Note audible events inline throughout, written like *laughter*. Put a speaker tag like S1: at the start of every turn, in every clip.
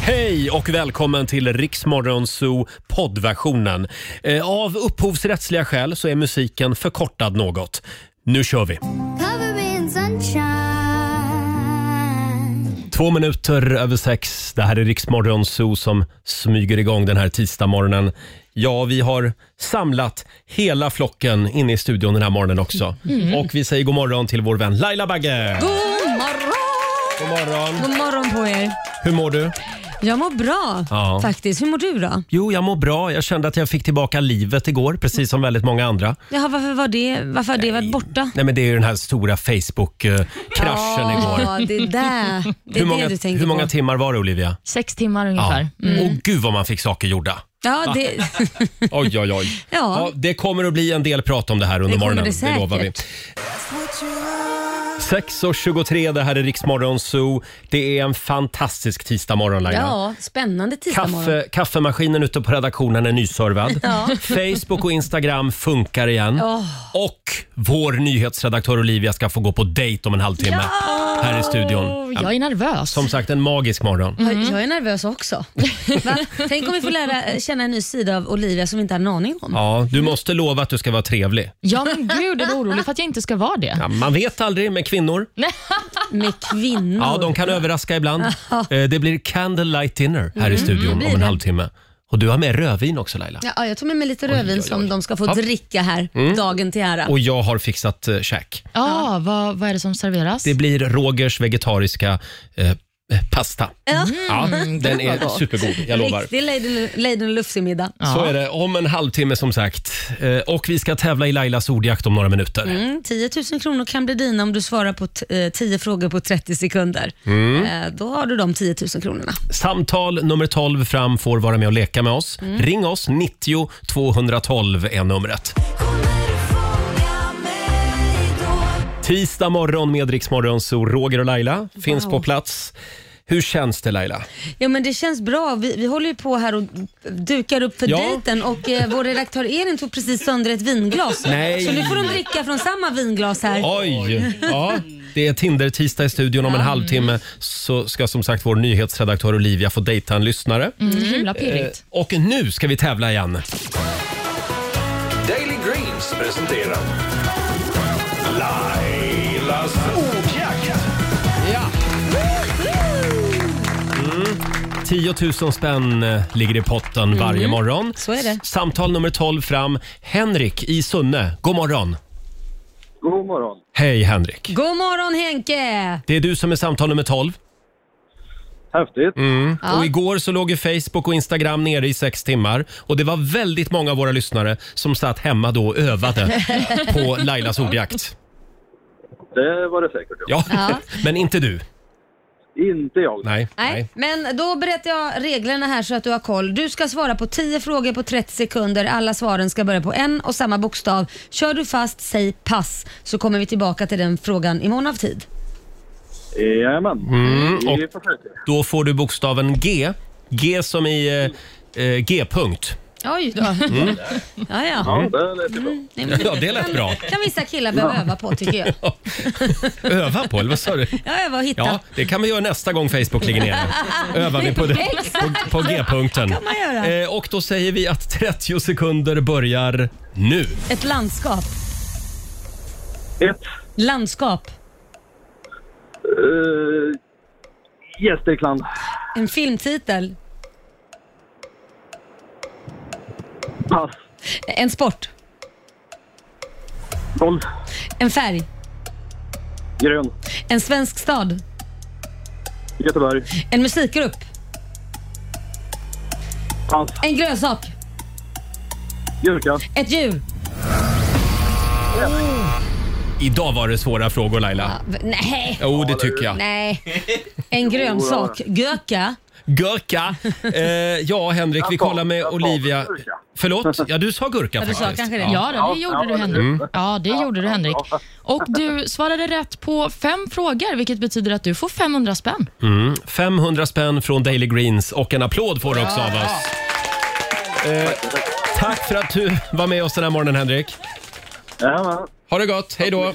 S1: Hej och välkommen till Riksmorgon Zoo poddversionen. Eh, Av upphovsrättsliga skäl så är musiken förkortad något. Nu kör vi!
S2: Cover me in sunshine.
S1: Två minuter över sex. Det här är Riksmorgon Zoo som smyger igång den här tisdagsmorgonen. Ja, vi har samlat hela flocken inne i studion den här morgonen också. Och vi säger god morgon till vår vän Laila Bagge.
S3: God morgon!
S1: God morgon!
S3: God morgon på er.
S1: Hur mår du?
S3: Jag mår bra
S1: Ja.
S3: faktiskt. Hur mår du då?
S1: Jo, jag mår bra. Jag kände att jag fick tillbaka livet igår, precis som väldigt många andra.
S3: Jaha, varför, var det, varför har det varit borta?
S1: Nej, men det är ju den här stora Facebook-kraschen igår.
S3: Ja, det är
S1: *laughs*
S3: där. Det är
S1: Hur många,
S3: det du tänker
S1: hur många
S3: på.
S1: timmar var det Olivia?
S4: Sex timmar ungefär. Mm.
S1: Och gud vad man fick saker gjorda.
S3: *laughs* Ja, det,
S1: Oj, oj, oj.
S3: Ja.
S1: det kommer att bli en del prat om det här under
S3: Det kommer
S1: morgonen.
S3: det
S1: det lovar vi.
S3: säkert.
S1: 6.23, det här är Riksmorgon Zoo. Det är en fantastisk tisdagmorgon Laila.
S3: *laughs* ja, spännande tisdagmorgon.
S1: Kaffe, kaffemaskinen ute på redaktionen är nyservad. Facebook och Instagram funkar igen. Och vår nyhetsredaktör Olivia ska få gå på dejt om en halvtimme här i studion.
S4: Jag är nervös.
S1: Som sagt, en magisk morgon.
S3: Jag är
S1: *laughs*
S3: nervös också. Va? Tänk om vi får lära eh, känna en ny sida av Olivia som vi inte har en aning om.
S1: Ja, du måste lova att du ska vara trevlig.
S4: Ja men gud, är du orolig för att jag inte ska vara det?
S1: Ja, man vet aldrig med kvinnor.
S3: Med kvinnor.
S1: Ja, de kan överraska ibland. Eh, Det blir candlelight dinner här i studion om en halvtimme. Och du har med rödvin också Laila.
S3: Ja, jag tar med mig lite rödvin
S1: oj, oj.
S3: som de ska få
S1: Ja. Mm.
S3: dricka här dagen till ära.
S1: Och jag har fixat eh, käk.
S4: Ja, vad, vad är det som serveras?
S1: Det blir Rogers vegetariska eh, eh, pasta. Mm. Ja, den är supergod, jag lovar.
S3: Riktig Lady, Lady Lufsi-middag.
S4: Ja.
S1: Så är det, om en halvtimme som sagt. Eh, Och vi ska tävla i Lailas ordjakt om några minuter.
S3: Mm, 10 000 kronor kan bli dina om du svarar på t- eh, 10 frågor på 30 sekunder.
S1: Mm.
S3: Eh, Då har du de 10 000 kronorna.
S1: Samtal nummer 12 fram får vara med och leka med oss. Ring oss, 90 212 är numret.
S2: Kommer du fånga mig då?
S1: Tisdag morgon med Rix Morgon, så Roger och Laila finns på plats. Hur känns det Laila?
S3: Ja, men det känns bra. Vi, vi håller ju på här och dukar upp för
S1: Ja.
S3: dejten och eh, vår redaktör Elin tog precis sönder ett vinglas.
S1: Nej.
S3: Så nu får de dricka från samma vinglas här.
S1: Oj! Ja, det är Tinder-tisdag i studion. Om en halvtimme så ska som sagt vår nyhetsredaktör Olivia få dejta en lyssnare.
S4: Mm, himla pirrigt.
S1: Och nu ska vi tävla igen.
S5: Daily Greens presenterar Lailas ordjakt.
S1: 10 000 Mm. spänn eh, ligger i potten varje morgon.
S3: Mm. Så är det.
S1: Samtal nummer 12 fram. Henrik i Sunne, god morgon.
S6: God morgon.
S1: Hej Henrik.
S3: God morgon Henke!
S1: Det är du som är samtal nummer 12.
S6: Häftigt.
S1: Mm. Och igår så låg ju Facebook och Instagram nere i sex timmar och det var väldigt många av våra lyssnare som satt hemma då och
S3: *laughs*
S1: övade på Lailas ordjakt.
S6: Det var det säkert. Ja.
S1: Ja, *laughs* men inte du.
S6: Inte jag.
S1: Nej.
S3: Nej.
S1: nej.
S3: men då berättar jag reglerna här så att du har koll. Du ska svara på 10 frågor på 30 sekunder. Alla svaren ska börja på en och samma bokstav. Kör du fast, säg pass, så kommer vi tillbaka till den frågan i mån av tid.
S6: Jajamän.
S1: Mm, och-
S6: Vi försöker.
S1: Då får du bokstaven G. G som i eh, eh, G-punkt.
S3: Oj då. Mm. Ja, ja.
S6: Ja, det lät ju bra.
S3: Nej, men
S1: Ja, det lät bra.
S3: kan vissa killar behöva öva på tycker jag.
S1: Öva på, eller vad sa du?
S3: Jag övar och hittar.
S1: Ja, det kan vi göra nästa gång Facebook ligger nere. Övar vi på, det, på, på G-punkten.
S3: kan man göra.
S1: Eh, och då säger vi att 30 sekunder börjar nu.
S3: Ett landskap.
S6: Ett.
S3: Landskap.
S6: Uh, Gästrikland.
S3: En filmtitel.
S6: Pass.
S3: En sport.
S6: Golf.
S3: En färg.
S6: Grön.
S3: En svensk stad.
S6: Göteborg.
S3: En musikgrupp.
S6: Pass.
S3: En grönsak.
S6: Gurka.
S3: Ett djur.
S1: Idag var det svåra frågor Laila.
S3: V- Nej.
S1: Jo, det tycker jag. *laughs*
S3: Nej. En grönsak. Göka.
S1: Gurka. Eh, ja, Henrik, vi
S6: Jag sa-
S1: kollar med
S6: jag sa
S1: Olivia.
S6: gurka. *laughs*
S1: Förlåt? Ja, du sa gurka
S3: du sa
S1: faktiskt.
S3: kanske det.
S4: Ja, då, det
S6: ja,
S4: gjorde du
S6: det
S4: Henrik. Ja, det gjorde du Henrik. Och du svarade rätt på fem frågor, vilket betyder att du får 500 spänn.
S1: 500 spänn från Daily Greens och en applåd får du också av oss. Eh, tack för att du var med oss den här morgonen Henrik.
S6: Jajamän.
S1: Ha det gott, hej då.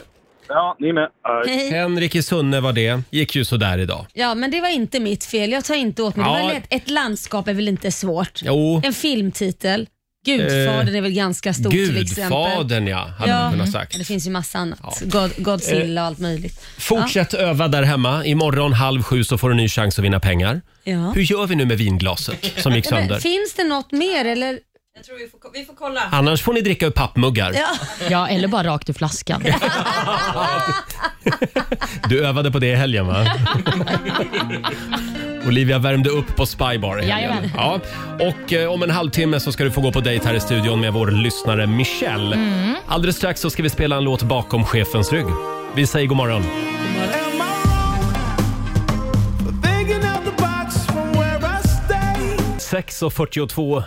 S6: Ja, ni med. Nej.
S3: Hej.
S1: Henrik i Sunne var det. Gick ju sådär idag.
S3: Ja, men det var inte mitt fel. Jag tar inte åt mig. Det
S1: Ja.
S3: var lätt. Ett landskap är väl inte svårt?
S1: Jo, Eh,
S3: En filmtitel. Gudfadern är väl ganska stor till exempel. Mm.
S1: Gudfadern ja, hade man kunnat sagt.
S3: Det finns ju massa annat. God,
S1: Eh,
S3: Godzilla och allt möjligt.
S1: Fortsätt öva där hemma. Imorgon halv sju så får du en ny chans att vinna pengar.
S3: Ja.
S1: Hur gör vi nu med vinglaset som gick
S3: Men,
S1: sönder?
S3: finns det något mer eller?
S7: Jag tror vi får, vi får kolla.
S1: Annars får ni dricka ur pappmuggar.
S4: Ja, eller bara rakt ur *laughs* flaskan.
S1: Du övade på det i helgen va? Olivia värmde upp på Spybar i helgen.
S4: Jajamän.
S1: Ja. Och eh, om en halvtimme så ska du få gå på dejt här i studion med vår lyssnare Michelle. Alldeles strax så ska vi spela en låt bakom chefens rygg. Vi säger god morgon.
S8: Hej
S1: 6.42.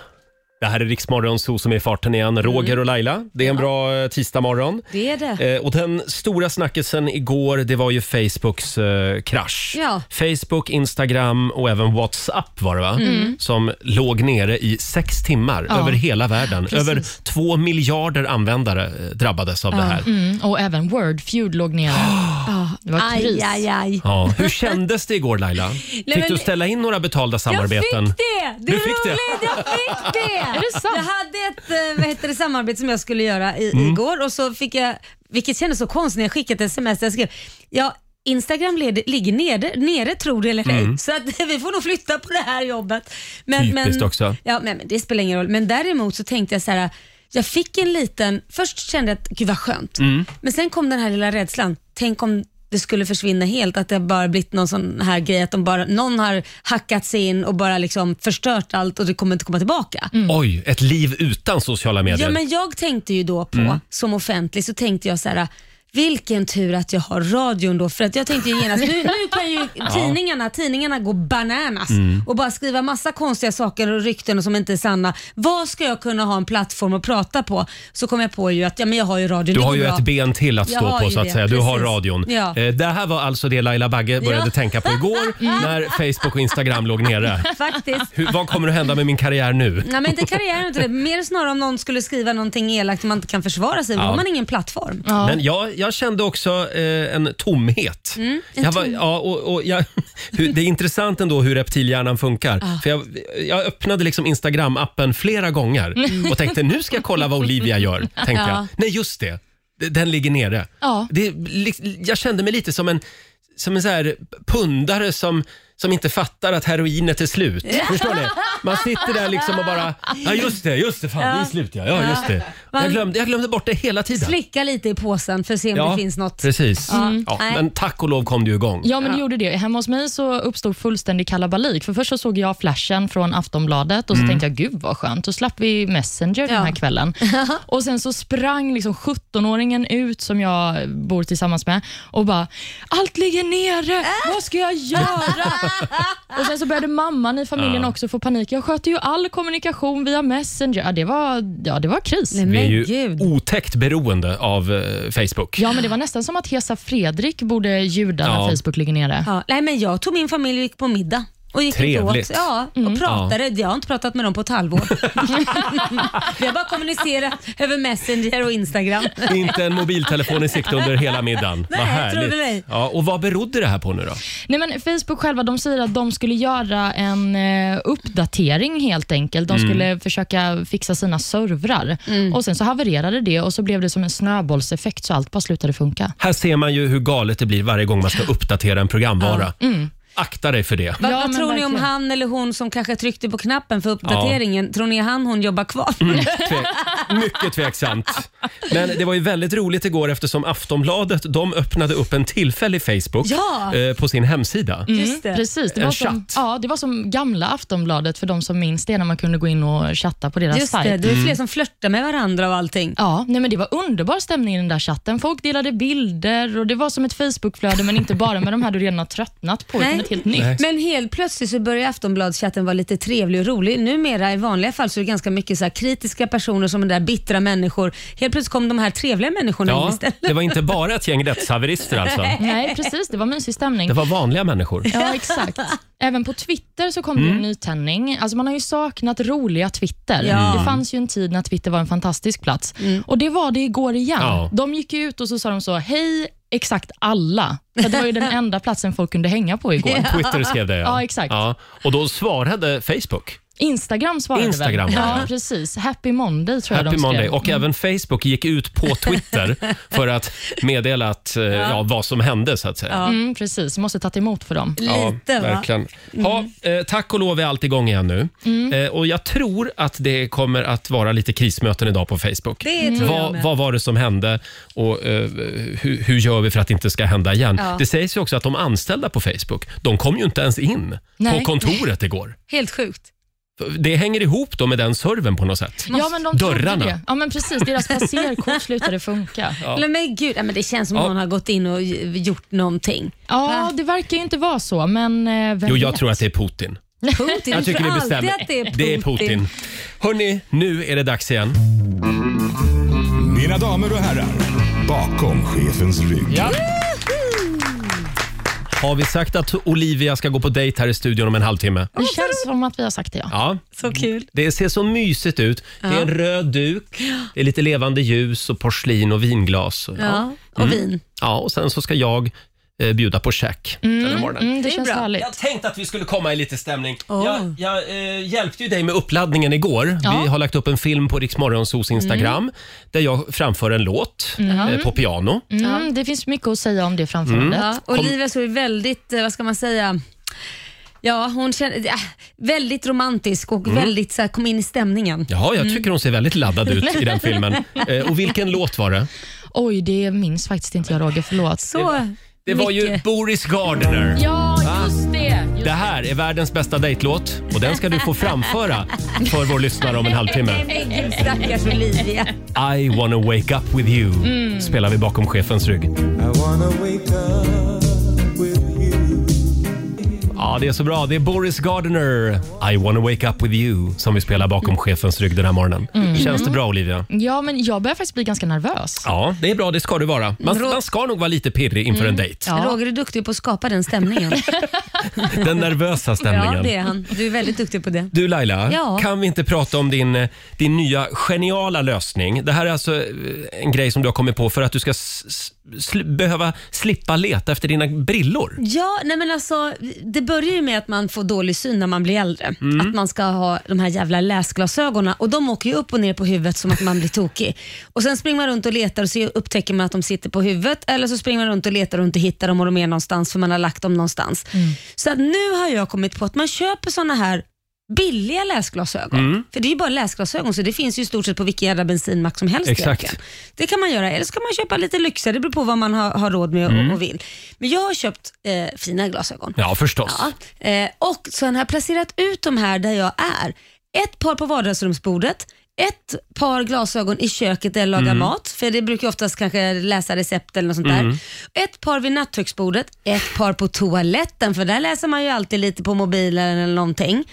S1: Det här är Riksmorgon Zoo som är i farten igen. Roger och Laila, det är en bra eh, tisdagmorgon.
S3: Det är det.
S1: Eh, och den stora snackisen igår, det var ju Facebooks eh, krasch.
S3: Ja.
S1: Facebook, Instagram och även WhatsApp var det va?
S3: Mm.
S1: Som låg nere i sex timmar
S4: Ja.
S1: över hela världen.
S4: Precis.
S1: Över två miljarder användare eh, drabbades av det här.
S4: Mm, och även Word Feud låg *gasps* nere. Det var
S3: Aj,
S4: kris.
S3: aj, aj.
S1: Ja. Hur kändes det igår Laila? Fick
S3: men-
S1: du ställa in några betalda
S3: Jag
S1: samarbeten?
S3: fick det! Det är
S1: Du fick det?
S3: roligt, jag
S1: *laughs*
S3: fick det! är
S4: det sant?
S3: Jag hade ett eh, vad heter det, samarbete som jag skulle göra i,
S1: Mm.
S3: igår och så fick jag, vilket kändes så konstigt när jag skickade ett sms där jag skrev, ja, Instagram leder, ligger nere, nere tror det eller ej,
S1: Mm.
S3: så att, *laughs* vi får nog flytta på det här jobbet. Men,
S1: Typiskt också.
S3: Ja, men, men det spelar ingen roll. Men däremot så tänkte jag så här, jag fick en liten, först kände jag att gud vad skönt,
S1: Mm.
S3: men sen kom den här lilla rädslan. Tänk om det skulle försvinna helt, att det bara blivit någon sån här grej, att de bara, någon har hackat sig in och bara liksom förstört allt och det kommer inte komma tillbaka.
S1: Oj, ett liv utan sociala medier.
S3: Mm. Ja, men jag tänkte ju då på,
S1: Mm.
S3: som offentlig, så tänkte jag så här, vilken tur att jag har radion då, för att jag tänkte ju genast, nu, nu
S1: *laughs*
S3: kan ju tidningarna, tidningarna gå bananas
S1: Mm.
S3: och bara skriva massa konstiga saker och rykten och som inte är sanna. Vad ska jag kunna ha en plattform att prata på? Så kom jag på ju att ja, men jag har ju radion.
S1: Du
S3: det
S1: har
S3: går
S1: ju
S3: bra.
S1: ett ben till att
S3: Jag
S1: stå
S3: har
S1: på
S3: ju
S1: så att
S3: det,
S1: säga. Du har
S3: precis.
S1: radion.
S3: Ja.
S1: Eh, Det här var alltså det Laila Bagge började
S3: Ja. Mm.
S1: tänka på
S3: *laughs*
S1: igår när Facebook och Instagram låg nere.
S3: Faktiskt.
S1: Hur, vad kommer att hända med min karriär nu?
S3: Nej men inte karriären inte det. Mer snarare om någon skulle skriva någonting elakt och man inte kan försvara sig. Då har man ingen plattform.
S4: Ja.
S1: Men jag, jag kände också eh, en tomhet. jag var, ja, och, och jag, *laughs* hur, det är intressant ändå hur reptilhjärnan funkar. För jag, jag öppnade liksom Instagram-appen flera gånger och tänkte nu ska jag kolla vad Olivia gör. Tänkte jag. Nej, just det. D- Den ligger nere.
S4: Ja.
S1: Det, är li- jag kände mig lite som en, som en så här pundare som, som inte fattar att heroinet är slut. Förstår ni? Man sitter där liksom och bara, ja just det, just det, fan det är slut ja. ja just det. Jag, glömde, jag glömde bort det hela tiden.
S3: Slicka lite i påsen för att se om det finns något.
S1: Precis.
S3: Mm.
S1: Ja,
S3: Nej.
S1: men tack och lov kom det ju igång.
S4: Ja, men det gjorde det. Hemma hos mig så uppstod fullständig kalabalik. För Först så såg jag flashen från Aftonbladet och så tänkte jag, gud vad skönt. Då slapp vi Messenger den här kvällen. och Sen så sprang liksom 17-åringen ut, som jag bor tillsammans med, och bara, allt ligger nere, vad ska jag göra? och Sen så började mamman i familjen också få panik. Jag sköter ju all kommunikation via Messenger. Ja, det var, ja, det var kris.
S3: Nej,
S1: Vi är
S3: men
S1: ju
S3: gud.
S1: otäckt beroende av eh, Facebook.
S4: Ja, men Det var nästan som att Hesa Fredrik borde ljuda när
S1: Ja.
S4: Facebook ligger nere.
S3: Ja, nej, men jag tog min familj och gick på middag. Och gick
S1: Trevligt.
S3: Åt, ja, och
S4: Mm.
S3: pratade. Jag har inte pratat med dem på ett halvår. *laughs* Vi har bara kommunicerat över Messenger och Instagram.
S1: Inte en mobiltelefon i sikte under hela middagen.
S3: *laughs* Nej,
S1: vad
S3: jag trodde
S1: härligt.
S3: dig.
S1: ja, och vad berodde det här på nu då?
S4: Nej, men Facebook själva de säger att de skulle göra en eh, uppdatering helt enkelt. De
S3: Mm.
S4: skulle försöka fixa sina servrar. Och Sen så havererade det och så blev det som en snöbollseffekt så allt bara slutade funka.
S1: Här ser man ju hur galet det blir varje gång man ska uppdatera en programvara.
S3: Mm.
S1: Akta dig för det.
S3: Vad,
S4: Ja,
S3: vad
S4: men
S3: tror ni om
S4: verkligen.
S3: han eller hon som kanske tryckte på knappen för uppdateringen? Tror ni han hon jobbar kvar?
S1: Mm. Tve mycket tveksamt. Men det var ju väldigt roligt igår eftersom Aftonbladet de öppnade upp en tillfällig Facebook
S3: Ja. Mm,
S1: eh, på sin hemsida.
S3: *laughs* Just det.
S4: Precis, det
S1: En
S4: var, som,
S1: chatt.
S4: ja, det var som gamla Aftonbladet för de som minns det, när man kunde gå in och chatta på deras
S3: Just det,
S4: sajt.
S3: det är fler som flörtar med varandra och allting.
S4: Ja, nej men det var underbar stämning i den där chatten. Folk delade bilder och det var som ett Facebookflöde, men inte bara med de här du redan har tröttnat på, utan
S3: Nej.
S4: ett helt nytt.
S3: Men helt plötsligt så börjar Aftonbladschatten vara lite trevlig och rolig. Numera i vanliga fall så är det ganska mycket så här kritiska personer som är där bittra människor. Helt plötsligt kom de här trevliga människorna in
S1: Ja,
S3: istället.
S1: det var inte bara ett gäng rättshaverister alltså.
S4: Nej, precis. Det var mysig stämning.
S1: Det var vanliga människor.
S4: *laughs* Ja, exakt. Även på Twitter så kom det
S1: Mm.
S4: en nytändning. Alltså man har ju saknat roliga Twitter.
S3: Ja.
S4: Det fanns ju en tid när Twitter var en fantastisk plats. Och Det var det igår igen.
S1: Ja.
S4: De gick ju ut och så sa de så, hej exakt alla. För det var ju den enda platsen folk kunde hänga på igår.
S1: Twitter skrev det, ja.
S4: Ja, exakt.
S1: Och då svarade Facebook.
S4: Instagram svarade
S1: Instagram,
S4: väl?
S1: ja, ja.
S4: ja, precis. Happy Monday tror jag
S1: Happy
S4: de skrev.
S1: Monday. Och även Facebook gick ut på Twitter för att meddela att, eh, ja, vad som hände, så att säga.
S4: Mm, precis, måste tagit emot för dem.
S3: Lite va?
S1: verkligen. Ja, eh, tack och lov är allt igång igen nu. Eh, och jag tror att det kommer att vara lite krismöten idag på Facebook.
S3: Det tror jag
S1: Mm. vad,
S3: med.
S1: vad var det som hände och eh, hur, hur gör vi för att det inte ska hända igen?
S3: Ja.
S1: Det sägs ju också att de anställda på Facebook, de kom ju inte ens in på
S4: Nej.
S1: kontoret igår.
S3: Helt sjukt.
S1: Det hänger ihop då med den servern på något sätt.
S4: Ja, men de trodde
S1: Dörrarna.
S4: Det. Ja, men precis. Deras passerkort slutade funka. Ja,
S3: Men, men gud, nej, men det känns som
S1: Ja.
S3: någon har gått in och g- gjort
S1: *laughs*
S3: någonting.
S4: det verkar ju inte vara så, men eh, vem
S1: Jo, jag
S4: vet?
S1: tror att det är Putin.
S3: Putin,
S1: Jag tycker
S3: tror
S1: vi
S3: alltid
S1: bestämmer.
S3: att det är Putin.
S1: Det är Putin. Hörni, nu är det dags igen.
S8: Mina damer och herrar, bakom chefens rygg.
S1: Har vi sagt att Olivia ska gå på dejt här i studion om en halvtimme?
S4: Det känns som att vi har sagt det, ja.
S1: Ja.
S3: Så kul.
S1: Det ser så mysigt ut. Det är en röd duk, det är lite levande ljus och porslin och vinglas. Och, ja. Mm.
S3: Ja, och vin.
S1: och sen så ska jag eh, bjuda på käk den här morgonen.
S4: Mm, det, känns härligt.
S1: Jag tänkte att vi skulle komma i lite stämning.
S3: Åh.
S1: Jag, jag eh, hjälpte ju dig med uppladdningen igår.
S4: Ja.
S1: Vi har lagt upp en film på Riksmorgonsos Instagram där jag framför en låt eh, på piano.
S4: Mm, det finns mycket att säga om det framförandet.
S3: Ja, Olivia såg ju väldigt, eh, vad ska man säga, Ja, hon kände, ja, väldigt romantisk
S1: Mm.
S3: och väldigt så här, kom in i stämningen.
S1: Jaha, jag tycker hon ser väldigt laddad ut i den filmen. Eh, och vilken låt var det?
S4: Oj, det minns faktiskt inte jag, Roger. Förlåt.
S3: Så
S1: Det var ju
S3: mycket.
S1: Boris Gardner.
S4: Ja, just det. Just
S1: Det här är världens bästa dejtlåt och den ska du få framföra för vår lyssnare om en halvtimme.
S3: Vilken stackars Olivia.
S1: I wanna wake up with you spelar vi bakom chefens rygg. Ja, det är så bra. Det är Boris Gardner, I wanna wake up with you, som vi spelar
S3: Mm.
S1: bakom chefens rygg den här morgonen. Känns det bra Olivia?
S4: Ja, men jag börjar faktiskt bli ganska nervös.
S1: Ja, det är bra. Det ska du vara. Man, man ska nog vara lite pirrig inför
S3: Mm.
S1: en dejt.
S4: Ja.
S3: Roger är duktig på att skapa den stämningen.
S1: *laughs* Den nervösa *laughs* stämningen.
S3: ja, det är han. Du är väldigt duktig på det.
S1: Du Laila,
S3: Ja.
S1: kan vi inte prata om din, eh, din nya geniala lösning? Det här är alltså eh, en grej som du har kommit på för att du ska s- s- sl- behöva slippa leta efter dina brillor.
S3: Ja, nej men alltså, det börjar ju med att man får dålig syn när man blir äldre. Att man ska ha de här jävla läsglasögonen och de åker ju upp och ner på huvudet som att man blir tokig. Och Sen springer man runt och letar och så upptäcker man att de sitter på huvudet eller så springer man runt och letar och inte hittar dem och de är någonstans för man har lagt dem någonstans. Så att nu har jag kommit på att man köper såna här billiga läsglasögon. För det är ju bara läsglasögon så det finns ju i stort sett på vilken jävla bensinmack som helst.
S1: Exakt.
S3: egentligen. Det kan man göra, eller så kan man köpa lite lyxigare, det beror på vad man har, har råd med och, och vill. Men jag har köpt eh, fina glasögon.
S1: Ja, förstås.
S3: Ja, eh, och sen har jag placerat ut de här där jag är. Ett par på vardagsrumsbordet, ett par glasögon i köket där jag
S1: Mm.
S3: lagar mat, för det brukar ju oftast kanske läsa recept eller något sånt där. Ett par vid nattduksbordet, ett par på toaletten, för där läser man ju alltid lite på mobilen eller någonting.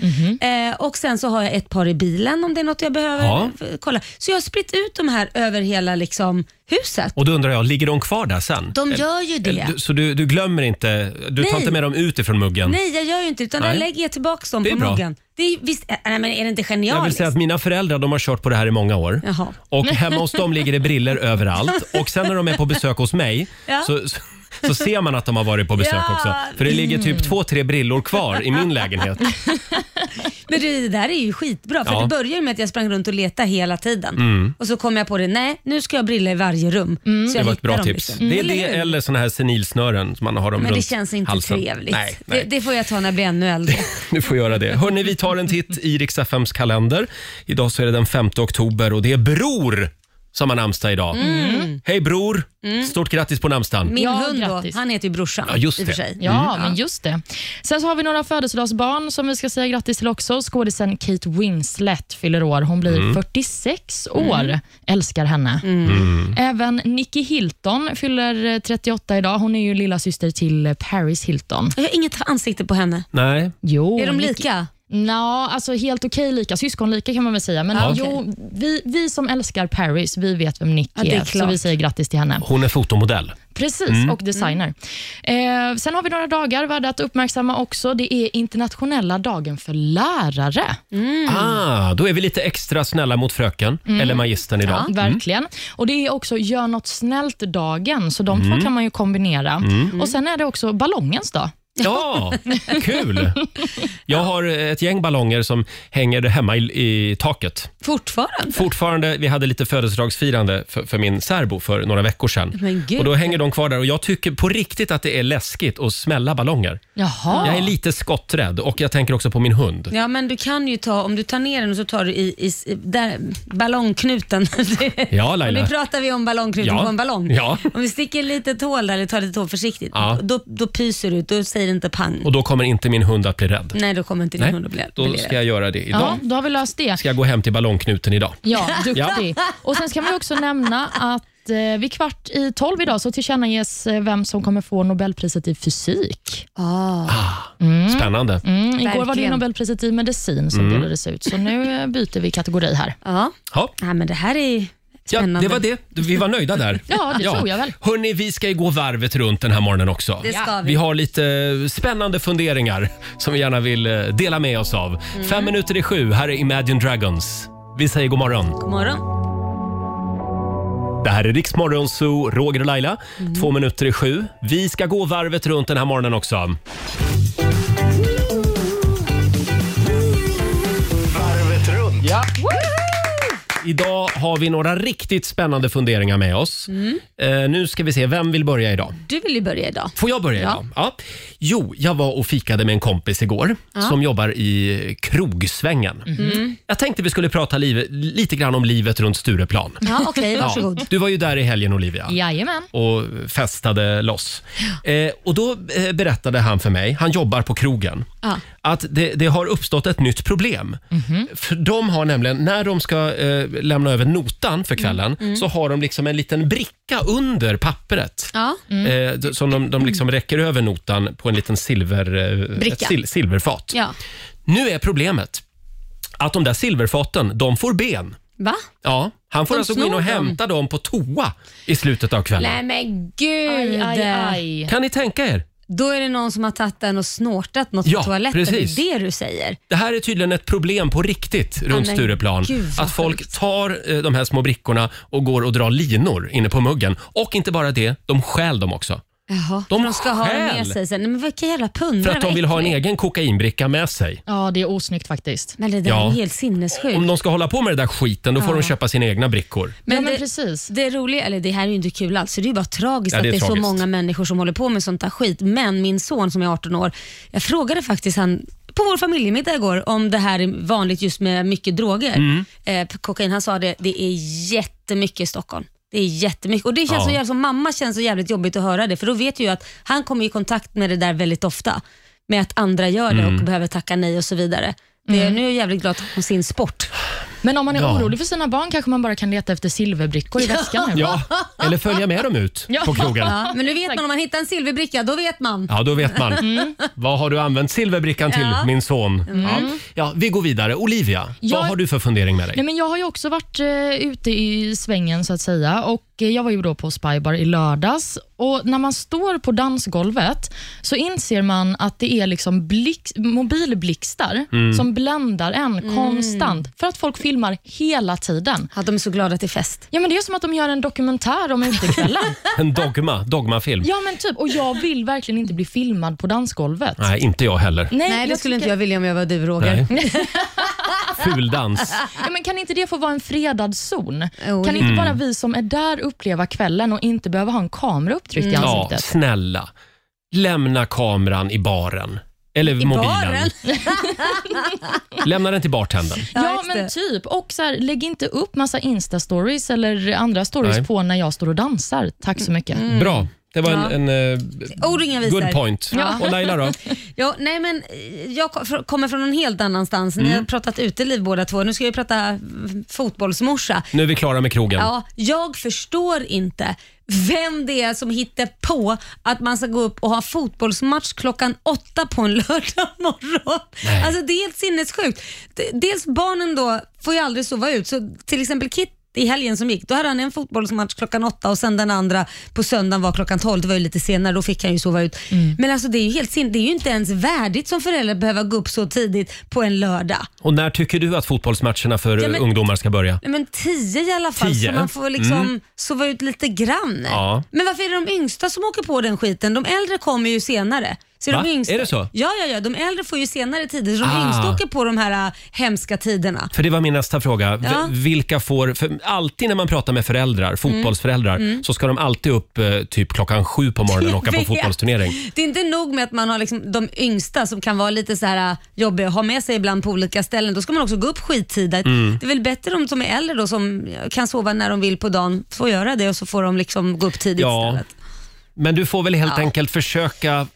S3: Eh, och sen så har jag ett par i bilen om det är något jag behöver
S1: Ja.
S3: f- kolla. Så jag har spritt ut de här över hela liksom, huset.
S1: Och då undrar jag, ligger de kvar där sen?
S3: De gör ju det.
S1: Eh, Du- Så du, du glömmer inte, du tar
S3: Nej.
S1: inte med dem ut ifrån muggen?
S3: Nej, jag gör ju inte utan
S1: Nej.
S3: jag lägger tillbaka dem
S1: Det är
S3: på
S1: bra.
S3: muggen. Det är, visst, äh, nej, men är det inte
S1: Jag vill
S3: genialiskt?
S1: säga att mina föräldrar de har kört på det här i många år.
S3: Jaha.
S1: Och
S3: *laughs*
S1: hemma hos dem ligger det briller överallt. Och sen när de är på besök hos mig
S3: Ja.
S1: så, så, så ser man att de har varit på besök
S3: Ja. mm.
S1: också. För det ligger typ två, tre brillor kvar i min lägenhet.
S3: Men det, det där är ju skitbra för
S1: Ja. Mm.
S3: det börjar ju med att jag sprang runt och letade hela tiden. Och så kom jag på det, nej nu ska jag ha briller i varje rum. Så
S4: Mm.
S1: Det
S3: jag
S1: var ett
S3: hittar
S1: bra
S3: dem
S1: tips.
S3: liksom.
S1: Det är det
S3: Eller hur?
S1: eller såna här senilsnören som man har dem
S3: Men det
S1: runt
S3: känns inte
S1: halsen.
S3: trevligt.
S1: Nej, nej.
S3: Det, det får jag ta när jag blir ännu äldre.
S1: Du får göra det. Hörni, vi tar en titt i Rix FMs kalender. Idag så är det den 5 oktober och det är Bror som har namnsdag idag.
S3: Mm.
S1: Hej Bror! Stort grattis på namnsdagen.
S3: Min
S4: Ja,
S3: hund
S4: grattis.
S3: då, han heter ju brorsan
S1: Ja, just
S3: i och för
S1: det.
S3: sig.
S4: Ja, men just det. Sen så har vi några födelsedagsbarn som vi ska säga grattis till också. Skådisen Kate Winslet fyller år. Hon blir 46 år. Älskar henne. Även Nicky Hilton fyller eh, 38 idag. Hon är ju lilla syster till eh, Paris Hilton.
S3: Jag har inget ansikte på henne.
S1: Nej,
S4: Jo,
S3: Är de
S4: Nicky-
S3: lika?
S4: Nå, alltså helt okej lika. Syskonlika kan man väl säga. Men
S3: Ja.
S4: jo, vi, vi som älskar Paris, vi vet vem Nick
S3: Ja, det är
S4: är. Så
S3: klart.
S4: vi säger grattis till henne.
S1: Hon är fotomodell.
S4: Precis, och designer. Eh, sen har vi några dagar värda att uppmärksamma också. Det är internationella dagen för lärare.
S3: Mm.
S1: Ah, då är vi lite extra snälla mot fröken eller magistern idag.
S3: Mm.
S4: Verkligen. Och Det är också gör något snällt-dagen, så de två kan man ju kombinera. Och Sen är det också ballongens dag.
S1: Ja, kul! Jag har ett gäng ballonger som hänger där hemma i, i taket.
S3: Fortfarande?
S1: Fortfarande, vi hade lite födelsedagsfirande för, för min särbo för några veckor sedan.
S3: Men gud.
S1: Och då hänger de kvar där och jag tycker på riktigt att det är läskigt att smälla ballonger.
S4: Jaha.
S1: Jag är lite skotträdd och jag tänker också på min hund.
S3: Ja, men du kan ju ta, om du tar ner den och så tar du i, i i- där, ballongknuten. *laughs* Det-
S1: Ja, Laila.
S3: Och nu pratar vi om ballongknuten
S1: Ja.
S3: på en ballong.
S1: Ja.
S3: Om vi sticker lite tål där, eller tar lite tål försiktigt,
S1: Ja.
S3: då, då pyser du ut. Då säger det inte pang.
S1: Och då kommer inte min hund att bli rädd.
S3: Nej, då kommer inte din
S1: Nej,
S3: hund att bli bli
S1: då
S3: rädd.
S1: ska jag göra det idag.
S4: Ja, då har vi löst det.
S1: Ska jag gå hem till ballongknuten idag?
S4: Ja, duktig. Och Sen ska vi också nämna att eh, vid kvart i tolv idag så tillkännages eh, vem som kommer få Nobelpriset i fysik.
S1: Spännande.
S4: Mm, igår var det ju
S3: Verkligen.
S4: Nobelpriset i medicin
S1: Mm.
S4: som delades ut, så nu eh, byter vi kategori här.
S3: Ja.
S1: Ja.
S3: ja, men det här är
S1: Ja,
S3: spännande.
S1: det var det. Vi var nöjda där.
S4: *laughs* Ja, det tror jag väl.
S1: Hörni, vi ska ju gå varvet runt den här morgonen också.
S3: Det ska vi.
S1: Vi har lite eh, spännande funderingar som vi gärna vill eh, dela med oss av.
S4: Mm.
S1: Fem minuter i sju, här är Imagine Dragons. Vi säger god morgon.
S3: God morgon.
S1: Det här är Rix Morgon Zoo, Roger och Laila. Två minuter i sju. Vi ska gå varvet runt den här morgonen också.
S5: Varvet runt.
S1: Idag har vi några riktigt spännande funderingar med oss. Eh, nu ska vi se, vem vill börja idag?
S3: Du vill ju börja idag.
S1: Får jag börja? Ja. Ja. Jo, jag var och fikade med en kompis igår som jobbar i krogsvängen. Jag tänkte vi skulle prata liv, lite grann om livet runt Stureplan.
S3: *laughs* Ja, okej, varsågod.
S1: Du var ju där i helgen Olivia
S4: Jajamän.
S1: och festade loss. Eh, och Då eh, berättade han för mig, han jobbar på krogen,
S3: Ja. Mhm.
S1: att det, det har uppstått ett nytt problem. För De har nämligen, när de ska eh, lämna över notan
S3: Mm.
S1: för kvällen, så har de liksom en liten bricka under papperet.
S3: Ja. Mm.
S1: Eh, d- som de, de liksom räcker över notan på en liten silver, eh,
S3: Bricka.
S1: ett sil, silverfat.
S3: ja.
S1: Nu är problemet att de där silverfaten, de får ben.
S3: Va?
S1: Ja, han får
S3: De
S1: alltså gå in
S3: snor
S1: och
S3: dem.
S1: hämta dem på toa i slutet av kvällen.
S3: Nej men gud.
S4: Aj, aj, aj.
S1: Kan ni tänka er?
S3: Då är det någon som har tagit den och snortat något
S1: Ja,
S3: på toaletten.
S1: precis.
S3: Det är det du säger.
S1: Det här är tydligen ett problem på riktigt runt
S3: men
S1: Stureplan.
S3: gud, vad
S1: Att folk
S3: sjukt.
S1: tar eh, de här små brickorna och går och drar linor inne på muggen. Och inte bara det, de stjäl dem också.
S3: Jaha.
S1: De
S3: de ska ha den med
S1: stjäl.
S3: sig sen. Nej, Men vilka jävla pundrare.
S1: För att de
S3: vad
S1: vill ha en
S3: äckligt.
S1: egen kokainbricka med sig.
S4: Ja, det är osnyggt faktiskt.
S3: Men det där
S1: Ja.
S3: är helt sinnessjukt.
S1: Om de ska hålla på med den där skiten, då får de köpa sina egna brickor.
S4: Men ja, men
S3: det-
S4: precis.
S3: Det är roliga, eller det här är ju inte kul alls, så det är ju bara tragiskt
S1: Ja, det är
S3: att det är
S1: tragiskt.
S3: så många människor som håller på med sånt där skit. Men min son som är 18 år, jag frågade faktiskt han på vår familjemiddag igår om det här är vanligt just med mycket droger.
S1: Mm.
S3: Eh, kokain, han sa det, det är jättemycket i Stockholm. Det är jättemycket. Och det känns
S1: Ja.
S3: så jävligt, som mamma känns så jävligt jobbigt att höra det, för då vet ju att han kommer i kontakt med det där väldigt ofta. Med att andra gör det
S1: Mm.
S3: och behöver tacka nej och så vidare. Det, Nu är jag jävligt glad om sin sport.
S4: Men om man är
S1: Ja.
S4: orolig för sina barn kanske man bara kan leta efter silverbrickor i väskan. nu.
S3: *laughs*
S1: Ja, eller följa med dem ut
S4: Ja.
S1: på krogen.
S3: Ja, men nu vet man, om man hittar en silverbricka, då vet man.
S1: Ja, då vet man. Vad har du använt silverbrickan till,
S3: Mm. Ja. Mm.
S1: min son? Ja. Ja, vi går vidare. Olivia,
S4: Jag-
S1: vad har du för fundering med dig?
S4: Nej, men jag har ju också varit eh, ute i svängen så att säga och eh, jag var ju då på Spybar i lördags och när man står på dansgolvet så inser man att det är liksom blick, mobilblixtar som bländar en
S3: Mm.
S4: konstant för att folk filmar hela tiden.
S3: Ja, de är så glada att det är fest.
S4: Ja, men det är som att de gör en dokumentär om utekvällen.
S3: *laughs*
S1: En dogma, dogmafilm?
S4: ja, men typ. Och jag vill verkligen inte bli filmad på dansgolvet.
S1: Nej, inte jag heller.
S4: Nej,
S3: Nej, det
S4: jag
S3: skulle inte
S4: tycker-
S3: jag vilja om jag var du Roger.
S1: Nej. *laughs* Fuldans.
S4: Ja, men kan inte det få vara en fredad zon?
S3: Jo,
S4: kan
S3: det-
S4: inte bara vi som är där uppleva kvällen och inte behöva ha en kamera upptryckt
S3: Mm.
S4: i
S1: Ja,
S4: ansiktet?
S1: snälla. Lämna kameran i baren. Eller mobilen.
S3: baren?
S1: *laughs* Lämna den till bartendern.
S4: Ja,
S3: Ja, just
S4: men
S3: det.
S4: typ. Och så här, lägg inte upp massa Insta-stories eller andra stories
S1: Nej.
S3: Mm.
S4: på när jag står och dansar. Tack så mycket.
S1: Bra. det var
S3: Ja.
S1: en, en eh,
S3: O-ringen visar.
S1: good point.
S3: Ja.
S1: Och Laila då?
S3: *laughs* Ja, nej men eh, jag ko- fr- kommer från en helt annanstans. Ni har pratat uteliv båda två. Nu ska vi prata mm, fotbollsmorsa.
S1: Nu är vi klara med krogen.
S3: Ja, jag förstår inte vem det är som hittar på att man ska gå upp och ha fotbollsmatch klockan åtta på en lördag morgon. Alltså det är helt sinnessjukt. D- Dels barnen då får ju aldrig sova ut, så till exempel Kit i helgen som gick, då hade han en fotbollsmatch klockan åtta och sen den andra på söndagen var klockan tolv. Det var ju lite senare, då fick han ju sova ut. Men alltså det är ju helt sin- det är ju inte ens värdigt som förälder att behöva gå upp så tidigt på en lördag.
S1: Och när tycker du att fotbollsmatcherna för
S3: Ja, men-
S1: ungdomar ska börja?
S3: Nej, Men tio i alla fall,
S1: Tio? Mm.
S3: så man får liksom sova ut lite grann.
S1: Ja.
S3: Men varför är det de yngsta som åker på den skiten? De äldre kommer ju senare. Så
S1: Va?
S3: de yngsta...
S1: Är det så?
S3: Ja, ja, ja. De äldre får ju senare tider, så de
S1: Ah.
S3: yngsta åker på de här äh, hemska tiderna.
S1: För det var min nästa fråga. V-
S3: Ja. Mm.
S1: Vilka får... För alltid när man pratar med föräldrar, fotbollsföräldrar, så ska de alltid upp eh, typ klockan sju på morgonen och åka på
S3: *laughs* Jag vet.
S1: fotbollsturnering.
S3: Det är inte nog med att man har liksom de yngsta som kan vara lite så här äh, jobbiga att ha med sig ibland på olika ställen. Då ska man också gå upp skittidigt.
S1: Mm.
S3: Det är väl bättre de som är äldre då som kan sova när de vill på dagen, får göra det och så får de liksom gå upp tidigt
S1: Ja.
S3: istället.
S1: Men du får väl helt
S3: Ja.
S1: enkelt försöka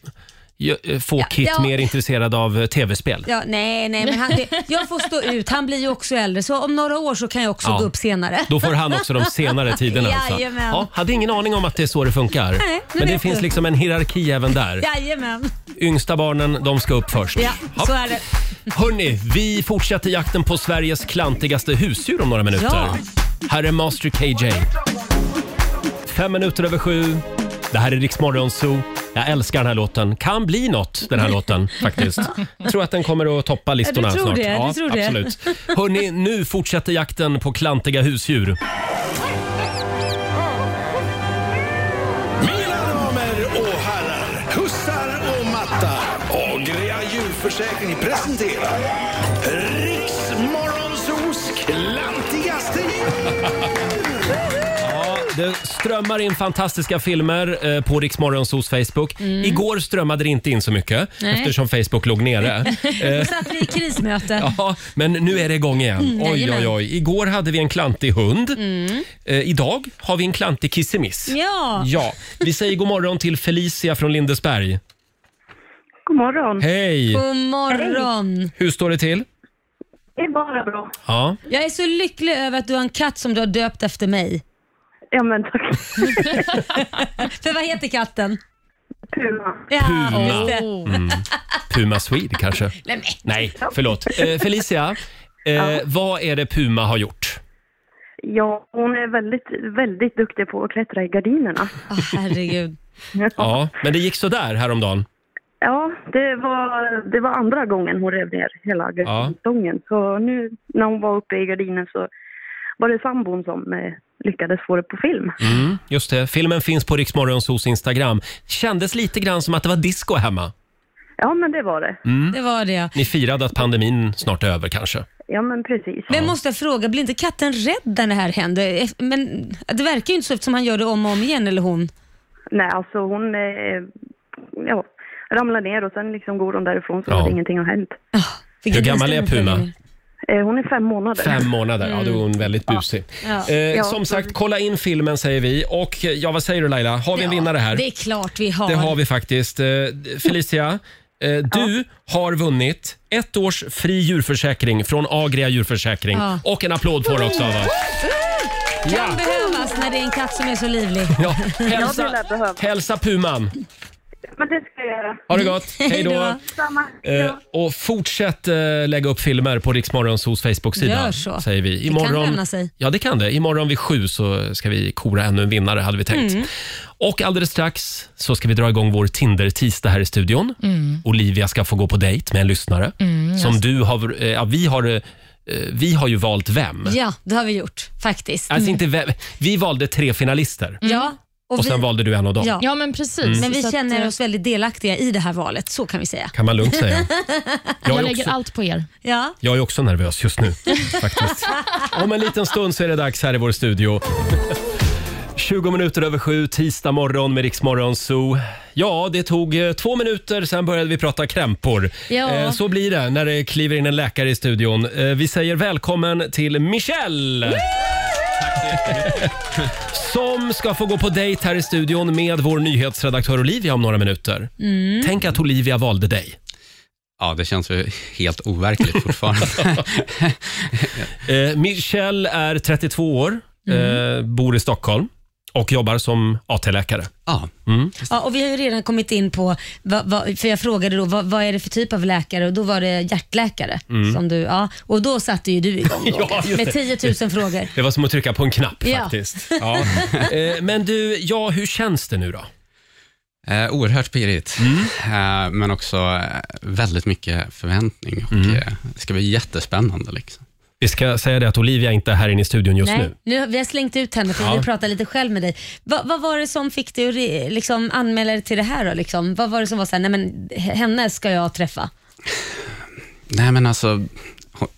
S1: ju- eh, få Kit
S3: ja.
S1: mer intresserad av eh, tv-spel.
S3: Ja, nej, nej, men han, jag får stå ut. Han blir ju också äldre, så om några år så kan jag också
S1: Ja.
S3: gå upp senare.
S1: Då får han också
S3: *laughs*
S1: de senare tiderna. Alltså.
S3: Jajamän.
S1: Ja, hade ingen aning om att det är så det funkar.
S3: nu
S1: Men det
S3: vet
S1: finns
S3: du.
S1: liksom en hierarki även där.
S3: Jajamän.
S1: Yngsta barnen, de ska upp först.
S3: Ja,
S1: Ja.
S3: så är det.
S1: Hörni, vi fortsätter jakten på Sveriges klantigaste husdjur om några minuter.
S3: Ja.
S1: Här är Master KJ. Fem minuter över sju. Det här är Rix Morgon Zoo. Jag älskar den här låten. Kan bli något, den här
S3: *laughs*
S1: låten faktiskt. Jag tror att den kommer att toppa listorna
S3: Ja, du tror
S1: snart.
S3: det, du tror det.
S1: absolut. Hörni, nu fortsätter jakten på klantiga husdjur.
S5: Mina damer och herrar, hussar och mattar. Agria djurförsäkring presenterar Riksmorgonsos klantigaste djur.
S1: Ja, det strömmar in fantastiska filmer eh, på Rix Morgonzoos Facebook. Igår strömmade det inte in så mycket
S3: Mm. Nej.
S1: eftersom Facebook låg
S3: *laughs*
S1: nere.
S3: Då satt vi i krismöte.
S1: Eh. Ja, men nu är det igång igen. oj, oj,
S3: Mm, jajamän. Mm.
S1: oj. Igår hade vi en klantig hund. Eh, idag har vi en klantig kissemiss.
S3: Ja.
S1: Ja, vi säger god morgon till Felicia från Lindesberg.
S9: God morgon.
S1: Hej!
S3: God morgon.
S1: Hur står det till?
S9: Det är bara bra.
S1: Ja.
S3: Jag är så lycklig över att du har en katt som du har döpt efter mig.
S9: Ja, men tack.
S3: För vad heter katten?
S9: Puma.
S3: Ja,
S1: Puma.
S3: just det.
S1: Puma Swede kanske?
S3: Nej, men.
S1: Nej, förlåt. Eh, Felicia, eh, vad är det Puma har gjort?
S9: Ja, hon är väldigt, väldigt duktig på att klättra i gardinerna.
S3: Åh, herregud.
S1: Ja, men det gick så där häromdagen.
S9: Ja, det var, det var andra gången hon rev ner hela gardinstången. Så nu när hon var uppe i gardinen så var det sambon som eh, lyckades få det på film.
S1: Mm, just det. Filmen finns på Riksmorgonsos Instagram. Kändes lite grann som att det var disco hemma.
S9: Ja, men det var det.
S1: Mm.
S3: Det var det.
S1: Ni firade att pandemin snart är över kanske?
S9: Ja, men precis.
S3: Men måste jag fråga, blir inte katten rädd när det här händer? Eh, Men det verkar ju inte så eftersom han gör det om och om igen, eller hon.
S9: Nej, alltså hon eh, ja, ramlade ner och sen liksom går hon därifrån så
S1: Ja.
S9: hade ingenting har hänt.
S1: Hur gammal är Puma?
S9: Eh, hon är fem månader.
S1: Fem månader, ja då är hon väldigt busig.
S3: Ja.
S1: Eh,
S9: Ja,
S1: som sagt, kolla in filmen säger vi. Och eh, ja, vad säger du Laila? Har vi en vinnare här?
S3: Det är klart vi har.
S1: Det har vi faktiskt. Eh, Felicia, eh, du har vunnit ett års fri djurförsäkring från Agria djurförsäkring.
S3: Ja.
S1: Och en applåd får du också av oss.
S3: kan behövas när det är en katt som är så livlig.
S1: Ja,
S9: Ja, det
S1: hälsa,
S9: lär behövas.
S1: hälsa Puman.
S9: Men det ska jag göra.
S1: Ha det gott. Hej då.
S3: då.
S9: Samma.
S1: Eh, och fortsätt eh, lägga upp filmer på Riksmorgonsos Facebook-sida.
S3: Gör så.
S1: Säger vi.
S3: Det kan löna sig.
S1: Ja, det kan det. Imorgon vid sju så ska vi kora ännu en vinnare, hade vi tänkt.
S3: Mm.
S1: Och alldeles strax så ska vi dra igång vår Tinder-tisdag här i studion.
S3: Mm.
S1: Olivia ska få gå på dejt med en lyssnare. som du har, eh, ja, vi, har, eh, vi har ju valt vem.
S3: Ja, det har vi gjort faktiskt.
S1: Alltså inte vem. Vi valde tre finalister
S3: Ja, Mm. och,
S1: och
S3: vi,
S1: sen valde du en av dem.
S3: ja.
S4: Ja, men precis.
S3: Mm. men
S4: Så
S3: vi
S4: att,
S3: känner
S4: eh,
S3: oss väldigt delaktiga i det här valet, så kan vi säga.
S1: Kan man lugnt
S3: *laughs*
S1: säga. Jag
S4: Jag
S1: är
S4: lägger
S1: också-
S4: allt på er.
S3: Ja.
S1: Jag är också nervös just nu. faktiskt. Om en liten stund så är det dags här i vår studio. 20 minuter över sju, tisdag morgon med Riksmorgon Zoo. Ja, det tog eh, två minuter, sen började vi prata krämpor.
S4: Ja.
S1: så blir det när Eh, det kliver in en läkare i studion. Eh, vi säger välkommen till Michelle! *laughs* Som ska få gå på dejt här i studion med vår nyhetsredaktör Olivia om några minuter. Tänk att Olivia valde dig.
S10: Ja, det känns ju helt overkligt fortfarande.
S1: Eh, Michelle är 32 år,
S3: Mm.
S1: eh, bor i Stockholm och jobbar som Mm. AT-läkare.
S10: ja,
S3: Ja, och vi har ju redan kommit in på, vad, vad, för jag frågade då vad, vad är det för typ av läkare och då var det hjärtläkare. Som du, ja, och då satte ju du igång då,
S1: Mm. *laughs* Ja, just
S3: med 10 000 frågor.
S1: Det var som att trycka på en knapp
S3: Ja. *laughs*
S1: faktiskt. Ja. Eh, Men du, ja, hur känns det nu då?
S10: eh, oerhört pirrigt, eh, men också eh, väldigt mycket förväntning. Och, eh, det ska bli jättespännande. Liksom.
S1: Vi ska säga det att Olivia inte är här inne i studion just
S3: Nej,
S1: nu.
S3: nu. har- vi har slängt ut henne för vi
S1: Ja.
S3: vill prata lite själv med dig. Va, vad var det som fick dig att re- liksom, anmäla dig till det här då? Liksom? Vad var det som var såhär, nej men henne ska jag träffa?
S10: Nej, men alltså,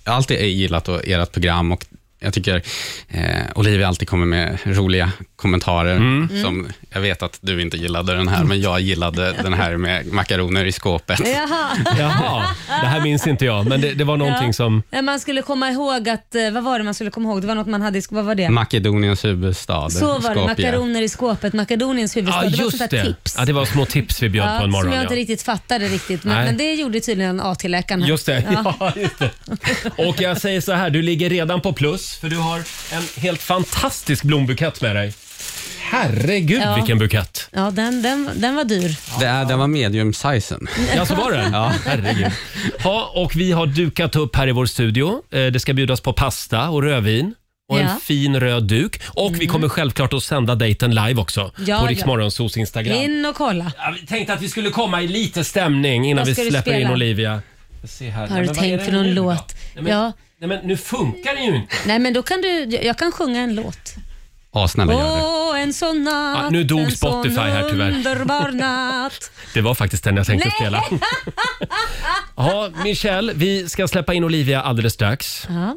S10: jag har alltid gillat och- ert program och jag tycker eh, Olivia alltid kommer med roliga kommentarer.
S3: Mm.
S10: Som, jag vet att du inte gillade den här, men
S3: *laughs*
S10: jag gillade den här med makaroner i skåpet.
S3: Jaha.
S1: Jaha, det här minns inte jag, men det, det var någonting som...
S3: Ja, Man skulle komma ihåg att, eh, vad var det man skulle komma ihåg? Det var något man hade, i sk- vad var det?
S10: Makedoniens huvudstad,
S3: Så var det,
S10: Skopje.
S3: makaroner i skåpet, Makedoniens huvudstad.
S1: Ja,
S3: det var ett
S1: just
S3: sånt där
S1: det.
S3: tips.
S1: Ja, det var små tips vi bjöd
S3: Ja,
S1: på en morgon.
S3: som jag inte
S1: ja.
S3: riktigt fattade riktigt.
S1: Nej.
S3: Men, men det gjorde tydligen AT-läkaren. här.
S1: Just det. *laughs* Ja. just det. Och jag säger så här, du ligger redan på plus för du har en helt fantastisk blombukett med dig. Herregud
S3: Ja.
S1: vilken bukett!
S3: Ja, den, den, den var dyr.
S10: Det, är, den var medium-sizen.
S1: Ja, så var den? Ja. Herregud. Ja, och vi har dukat upp här i vår studio. Eh, Det ska bjudas på pasta och rödvin. Och en
S3: Ja. Mm.
S1: fin röd duk. Och vi kommer självklart att sända dejten live också.
S3: Ja,
S1: på
S3: ja.
S1: Riksmorgonsos Instagram.
S3: In och kolla.
S1: Ja, vi tänkte att vi skulle komma i lite stämning innan
S3: Vad
S1: vi
S3: ska du
S1: släpper in
S3: spela?
S1: Olivia. Jag ser här.
S3: Har du
S1: vad är
S3: tänkt
S1: det
S3: för någon
S1: nu då?
S3: låt?
S1: Nej, men,
S3: Ja.
S1: nej, men nu funkar det ju inte.
S3: Nej, men då kan du, jag jag kan sjunga en låt.
S10: Ja, snälla
S3: Åh,
S10: gör det.
S3: en sån natt.
S1: Ah, nu dog
S3: en
S1: Spotify
S3: sån
S1: här, tyvärr.
S3: underbar natt.
S1: *laughs* Det var faktiskt den jag tänkte spela. *laughs* Ja, Michelle, vi ska släppa in Olivia alldeles strax.
S3: Ja,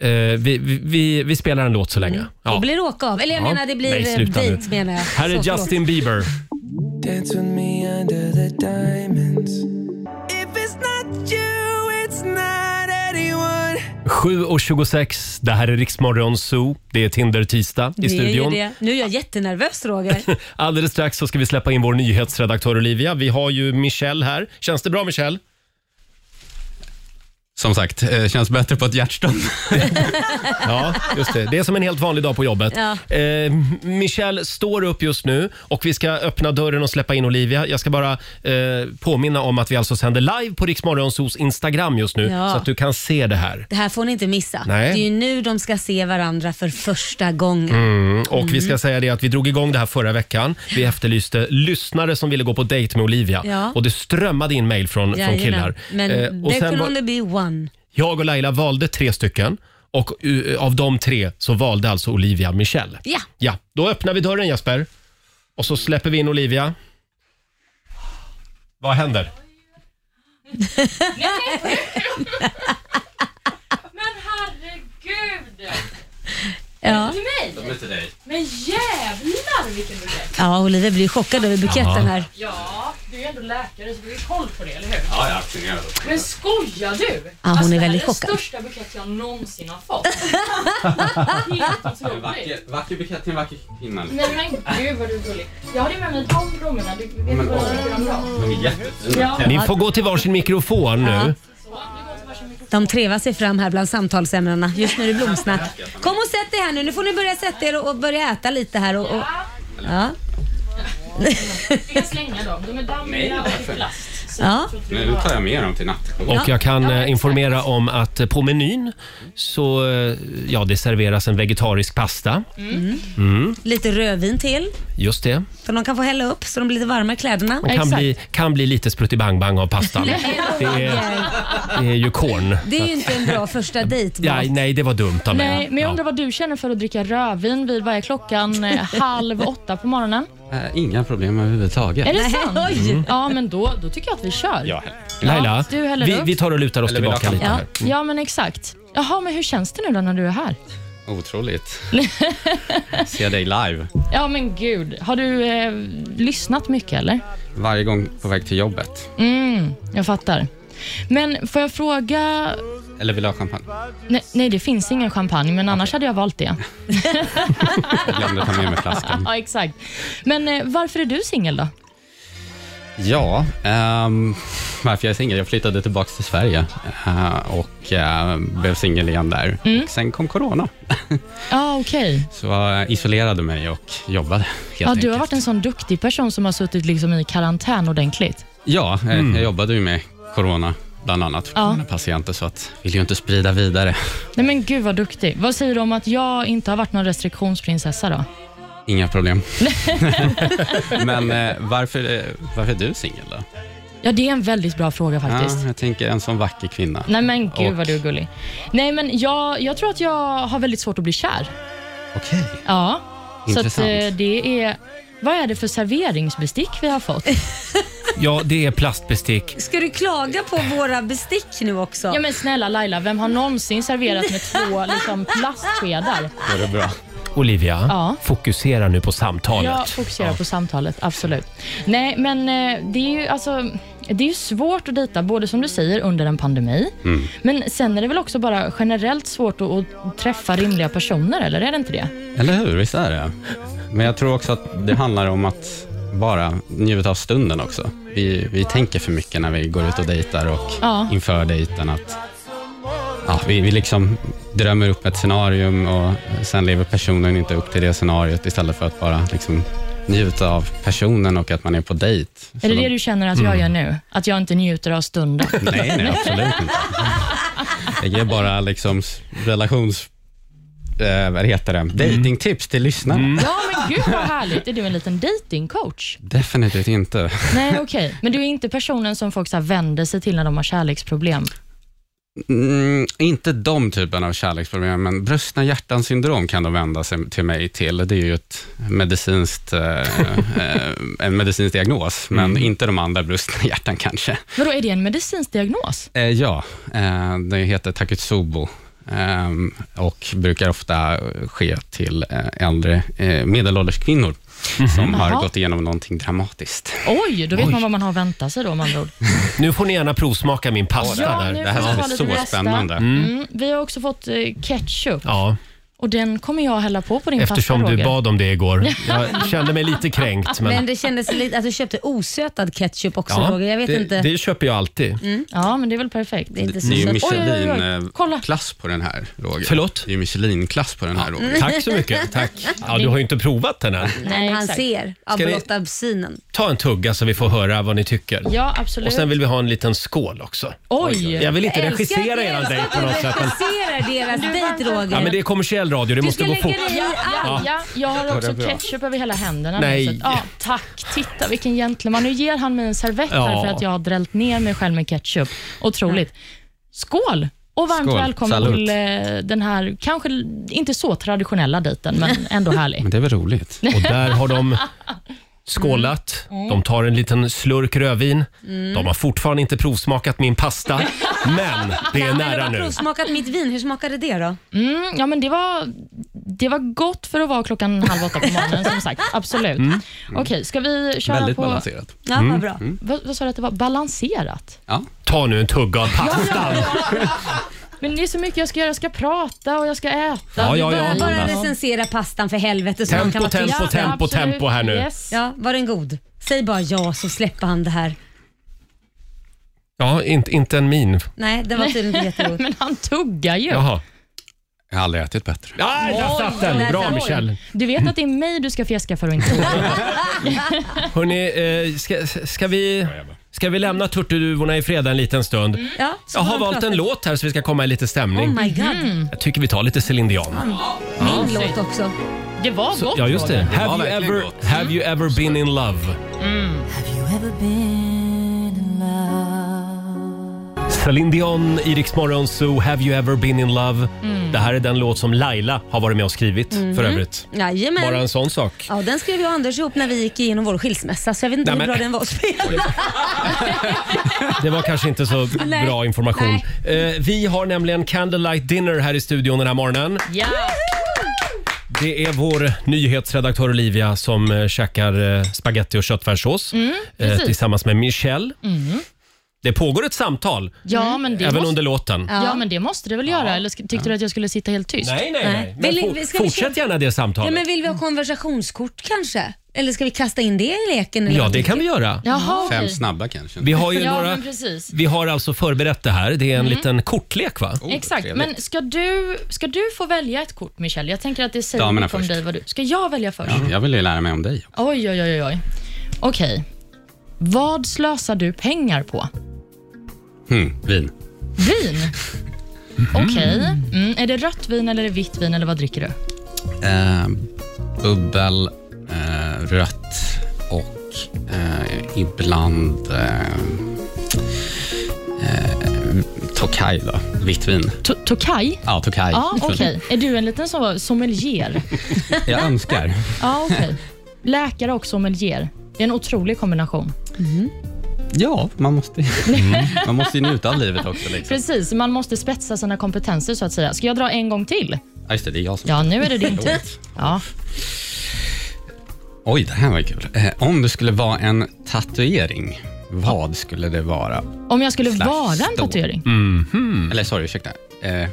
S1: Eh, vi, vi, vi, vi spelar en låt så länge. Ja.
S3: Mm. Det blir åka av. Eller jag
S1: Ja.
S3: menar, det blir
S1: Nej,
S3: eh,
S1: sluta nu.
S3: dejt menar jag.
S1: Här är
S3: Så, förlåt.
S1: Justin Bieber. Sju och 26, det här är Riksmorgon Zoo. Det är Tinder-tisdag i
S3: Det är ju
S1: studion.
S3: det. Nu är jag jättenervös Roger.
S1: *laughs* Alldeles strax så ska vi släppa in vår nyhetsredaktör Olivia. Vi har ju Michelle här. Känns det bra
S3: *laughs*
S1: Michelle?
S10: Som sagt, eh, känns bättre på ett hjärtstund.
S1: Ja, just det. Det är som en helt vanlig dag på jobbet.
S3: Ja.
S1: Eh, Michelle står upp just nu och vi ska öppna dörren och släppa in Olivia. Jag ska bara eh, påminna om att vi alltså sänder live på Riksmorgonsos Instagram just nu
S3: Ja.
S1: så att du kan se det här.
S3: Det här får ni inte missa.
S1: Nej. Mm,
S3: Det är ju nu de ska se varandra för första gången.
S1: Och vi
S3: Mm.
S1: ska säga det att vi drog igång det här förra veckan. Vi efterlyste lyssnare som ville gå på dejt med Olivia
S3: Ja.
S1: och det strömmade in mejl från, från
S3: Jajamän.
S1: killar.
S3: Men
S1: Eh, och
S3: there
S1: sen
S3: could
S1: var-
S3: only be one.
S1: Jag och Laila valde tre stycken och eh, av de tre så valde alltså Olivia Michelle.
S3: Ja.
S1: Ja, då öppnar vi dörren Jesper och så släpper vi in Olivia. Vad händer?
S7: Men herregud!
S3: Ja.
S7: Mig? Men jävlar vilken du är!
S3: Ja, Olivia blir chockad över buketten här.
S7: Ja, du är ju ändå läkare så du har ju koll på det, eller hur? Men skojar du? Alltså,
S3: hon är
S7: det här
S3: väldigt
S7: den
S3: chockad.
S7: största bukett jag någonsin har
S3: *laughs*
S7: fått. Helt otroligt.
S10: Vacker bukett till en vacker kvinna.
S7: Nej men gud vad du är gullig. Jag har det med mig i de blommorna. Du vet vad jag tycker om dem.
S10: De är jättefina.
S7: Ja,
S1: Ni får gå till varsin mikrofon nu.
S3: De trevar sig fram här bland samtalsämnena. Just nu är det blomsnack. Kom och sätt er här nu. Nu får ni börja sätta er och, och börja äta lite här. Och, och, ja. *laughs*
S7: vi kan slänga dem. De är dammiga och i plast.
S3: Ja.
S10: Nu tar jag med dem till natten.
S1: Och jag kan eh, informera om att eh, på menyn så eh, ja, det serveras en vegetarisk pasta.
S3: Mm. Lite rödvin till.
S1: Just det.
S3: För de kan få hälla upp så de blir lite varma i kläderna.
S1: Och kan
S4: Exakt.
S1: bli, kan bli lite spruttibang-bang av pastan.
S4: *laughs*
S1: Det är, det är ju korn.
S3: Det är ju inte en bra första dejt.
S1: Ja,
S3: Mats.
S1: nej, det var dumt av mig.
S4: Nej, men jag
S1: Ja.
S4: undrar vad du känner för att dricka rödvin vid, vad är klockan,
S3: *laughs*
S4: Eh, halv åtta på morgonen?
S10: Eh, Inga problem överhuvudtaget.
S4: Är det
S3: Nej,
S4: sant?
S3: oj.
S4: Ja, men då, då tycker jag att vi kör. Ja,
S1: Laila,
S4: du häller
S1: vi,
S4: upp.
S1: vi tar och lutar oss
S10: Eller vill
S1: tillbaka
S10: jag
S1: lite
S3: ta-
S1: här.
S4: ja men exakt. Jaha, men hur känns det nu då när du är här? *laughs*
S10: Otroligt. Ser dig live.
S4: Ja, men gud. Har du eh, lyssnat mycket eller?
S10: Varje gång på väg till jobbet.
S4: Mm, jag fattar. Men får jag fråga...
S10: Eller vill du ha champagne?
S4: Nej, nej det finns ingen champagne, men annars hade jag valt det.
S10: Jag glömde ta med mig flaskan.
S4: ja, exakt. Men eh, varför är du singel då?
S10: Ja, ehm, varför jag är singel? Jag flyttade tillbaka till Sverige eh, och eh, blev singel igen där.
S4: Mm.
S10: Och sen kom corona,
S4: Ja, okej.
S10: så jag isolerade mig och jobbade. Helt
S4: Ja, du har
S10: enkelt.
S4: varit en sån duktig person som har suttit liksom i karantän ordentligt.
S10: Ja, eh, jag jobbade ju med corona, bland annat,
S4: Mm. Ja.
S10: ja. patienter, så att vill ju inte sprida vidare.
S4: Nej men gud vad duktig. Vad säger du om att jag inte har varit någon restriktionsprinsessa då? *laughs*
S10: Inga problem. Men eh, varför, eh, varför är du singel då?
S4: Ja, det är en väldigt bra fråga faktiskt.
S10: Ja, jag tänker en sån vacker kvinna.
S4: Nej men gud
S10: Och-
S4: vad du är gullig. Nej men jag, jag tror att jag har väldigt svårt att bli kär.
S10: Okej.
S4: Ja. Så
S1: Intressant.
S4: att eh, det är... Vad är det för serveringsbestick vi har fått?
S1: Ja, det är plastbestick.
S4: Ska du klaga på våra bestick nu också? Ja men snälla Laila, vem har någonsin serverat med två liksom,
S10: *laughs*
S4: plastskedar?
S1: Var det bra? Olivia,
S4: Ja.
S1: fokusera nu på samtalet.
S4: Jag fokuserar på samtalet, absolut. Nej, men eh, det är ju alltså... Det är ju svårt att dejta, både som du säger, under en pandemi,
S10: Mm.
S4: men sen är det väl också bara generellt svårt att, att träffa rimliga personer, eller är det inte det?
S10: Eller hur? Visst är det? Men jag tror också att det handlar om att bara njuta av stunden också. Vi, vi tänker för mycket när vi går ut och dejtar och
S4: Ja.
S10: inför dejten. Att, ja, vi, vi liksom drömmer upp ett scenarium och sen lever personen inte upp till det scenariot istället för att bara liksom njuta av personen och att man är på dejt.
S4: Är det det du känner att jag gör nu? Att jag inte njuter av stunden?
S10: Nej, nej, absolut inte. Jag ger bara liksom s- relations... Eh, vad heter det? Datingtips till
S4: *laughs*
S10: lyssnarna.
S4: Ja, men gud vad härligt. Är du en liten datingcoach?
S10: Definitivt inte.
S4: Nej, okej. Men du är inte personen som folk så här vänder sig till när de har kärleksproblem?
S10: Mm, inte de typen av kärleksproblem, men brustna hjärtan syndrom kan de vända sig till mig till. Det är ju ett medicinskt, eh, eh, en medicinsk diagnos, men inte de andra brustna hjärtan kanske.
S4: Vadå, är det en medicinsk diagnos?
S10: Eh, ja, eh, det heter Takotsubo ehm, och brukar ofta ske till eh, äldre eh, medelålders kvinnor som har
S4: Jaha.
S10: gått igenom någonting dramatiskt.
S4: Oj, då vet
S10: Oj.
S4: man vad man har att vänta sig då med andra ord.
S1: Nu får ni gärna provsmaka min pasta
S4: Ja,
S1: där.
S4: nu får vi ta lite nästa. Mm.
S1: Mm.
S4: Vi har också fått eh, ketchup
S1: Ja,
S4: och den kommer jag hälla på på din
S1: eftersom
S4: pasta,
S1: du
S4: Roger.
S1: bad om det igår.
S4: *laughs*
S1: Jag kände mig lite kränkt. Men,
S3: Men det kändes lite att du köpte osötad ketchup också
S1: Ja,
S3: Roger. Jag vet
S1: det,
S3: inte.
S1: det köper jag alltid.
S3: Mm.
S4: Ja, men det är väl perfekt.
S3: Det är inte
S10: Det är ju
S3: så sött. Oj, oj, oj.
S10: Michelin-klass på den här, Roger.
S1: Förlåt?
S10: Det är ju Michelin-klass på den här, Roger.
S1: Tack så
S4: *laughs*
S1: mycket. Tack. Ja, du har ju inte provat den än.
S3: Men han ser av
S1: Ska ni-
S3: blotta synen.
S1: Ta en tugga så vi får höra vad ni tycker.
S3: Ja, absolut.
S1: Och sen vill vi ha en liten skål också.
S4: Oj!
S1: Jag vill inte
S3: Jag älskar alltså.
S1: regissera
S3: att
S1: er
S3: jag
S1: dejt på något sätt. Men,
S3: regisserar deras dejt Roger.
S1: ja, men det är kommersiell radio, det
S3: Du
S1: måste
S3: ska
S1: gå
S3: lägga
S1: fort.
S3: dig i
S4: Ja, ja,
S1: Ja.
S4: ja. Jag har
S1: Ja,
S4: också
S1: det är bra.
S4: ketchup över hela händerna.
S1: Nej.
S4: Nu, så att, ja, tack. Titta vilken gentleman. Nu ger han mig en servett här
S1: Ja.
S4: för att jag har drällt ner mig själv med ketchup. Otroligt. Skål! Och varmt
S10: Skål.
S4: välkommen
S10: Salut.
S4: till eh, den här, kanske inte så traditionella dejten, men ändå
S1: *laughs*
S4: härlig.
S1: Mm.
S10: Men det är väl roligt?
S1: Och där har de skålat.
S4: Mm.
S1: De tar en liten slurk rödvin.
S3: Mm.
S1: De har fortfarande inte provsmakat min pasta, men det är nära
S3: Jag har
S1: nu.
S3: provsmakat mitt vin. Hur smakade det då?
S4: Mm, ja, men det var, det var gott för att vara klockan halv åtta på morgonen,
S1: *laughs*
S4: som sagt. Absolut. Mm. Okej, ska vi köra
S10: Väldigt
S4: på...
S10: balanserat.
S4: Ja,
S1: Mm.
S4: vad bra. Vad, vad sa du att det var? Balanserat?
S1: Ta nu en tugga av pastan.
S4: Men det är så mycket jag ska göra. Jag ska prata och jag ska äta.
S1: Ja, ja, ja.
S4: Bara-
S3: Bara
S1: Ja.
S3: recensera pastan för helvete. så
S1: Tempo,
S3: man kan vara
S1: tempo,
S3: tyst.
S1: tempo,
S3: Ja, absolut.
S1: tempo här nu.
S4: Yes.
S3: Ja, var den god? Säg bara ja så släpper han det här.
S1: Ja, inte, inte en min.
S3: Nej, det var tydligen
S4: *laughs*
S3: inte jättegod.
S4: Men han tuggar ju.
S1: Jaha.
S10: Jag har aldrig ätit bättre.
S1: Ah, där satt
S4: Oj,
S1: den! Bra
S4: oj.
S1: Michelle.
S4: Du vet att det är mig du ska fjäska för och inte
S1: Hörrni, eh, ska, ska, vi, ska vi lämna turturduvorna i fred en liten stund?
S3: Ja, så
S1: Jag
S3: får
S1: har
S3: de
S1: valt
S3: prata.
S1: en låt här så vi ska komma i lite stämning.
S3: Oh my god.
S4: Mm.
S1: Jag tycker vi tar lite Céline Dion.
S3: Min låt också.
S4: Det var gott.
S1: Ja, just det.
S4: Roger.
S1: Have you
S10: verkligen
S1: ever,
S10: gott.
S1: have you ever been in love? Celine Dion, i Rix Morgon Zoo, Have you ever been in love? Det här är den låt som Laila har varit med och skrivit för övrigt.
S3: Jajamän.
S1: Bara en sån sak.
S3: Ja, den skrev jag och Anders ihop när vi gick igenom vår skilsmässa, så jag vet inte
S1: Nej,
S3: hur
S1: men-
S3: bra den var att spela.
S1: Det var kanske inte så
S3: Nej.
S1: bra information. Eh, vi har nämligen Candlelight Dinner här i studion den här morgonen.
S4: Ja.
S1: Det är vår nyhetsredaktör Olivia som eh, käkar eh, spaghetti och köttfärssås eh,
S4: precis.
S1: tillsammans med Michelle.
S4: Mm.
S1: Det pågår ett samtal,
S4: Ja, men det
S1: även
S4: måste,
S1: under låten.
S4: Ja. men det måste det väl göra? Eller sk- tyckte du att jag skulle sitta helt tyst?
S1: Nej, nej, nej. Men
S3: Vill-
S1: for-
S3: vi- ska vi
S1: fortsätt
S3: köra-
S1: gärna det
S3: Ja,
S1: samtalet.
S3: men vill vi ha konversationskort kanske? Eller ska vi kasta in det i leken? Eller
S1: Ja,
S3: vad
S1: det
S3: tycker
S1: kan vi göra.
S3: Jaha.
S10: Fem snabba kanske.
S1: Vi har ju
S4: ja,
S1: några...
S4: men precis.
S1: Vi har alltså förberett det här. Det är en
S4: Mm.
S1: liten kortlek va?
S4: Exakt, men ska du, ska du få välja ett kort, Michelle? Jag tänker att det säger
S10: Damerna
S4: lite om
S10: först.
S4: dig. Vad du, ska jag välja först?
S10: Ja, jag vill ju lära mig om dig.
S4: Oj, oj, oj, oj, oj. Okej. Vad slösar du pengar på?
S10: Hmm, vin.
S4: Vin? Okej. Mm. Är det rött vin eller är det vitt vin eller vad dricker du?
S10: Eh, bubbel, eh, rött och eh, ibland eh, eh, Tokaj då, vitt vin.
S4: To- Tokaj?
S10: Ja, Tokaj. *laughs*
S4: Ja, okej. Är du en liten så- sommelier?
S10: Jag önskar.
S4: Ja, okej. Läkare och sommelier. Det är en otrolig kombination.
S10: Ja, man måste,
S4: *laughs*
S10: man måste ju njuta av livet också. Liksom.
S4: Precis, man måste spetsa sina kompetenser så att säga. Ska jag dra en gång till?
S10: Ja, just det, det är jag som
S4: Ja, nu är
S10: *laughs*
S4: det din tid. Ja.
S10: Oj, det här var ju kul. Eh, om du skulle vara en tatuering, vad skulle det vara?
S4: Om jag skulle
S10: Slash
S4: vara en
S10: stå.
S4: tatuering?
S10: Mm, Eller sorry, ursäkta. Eh,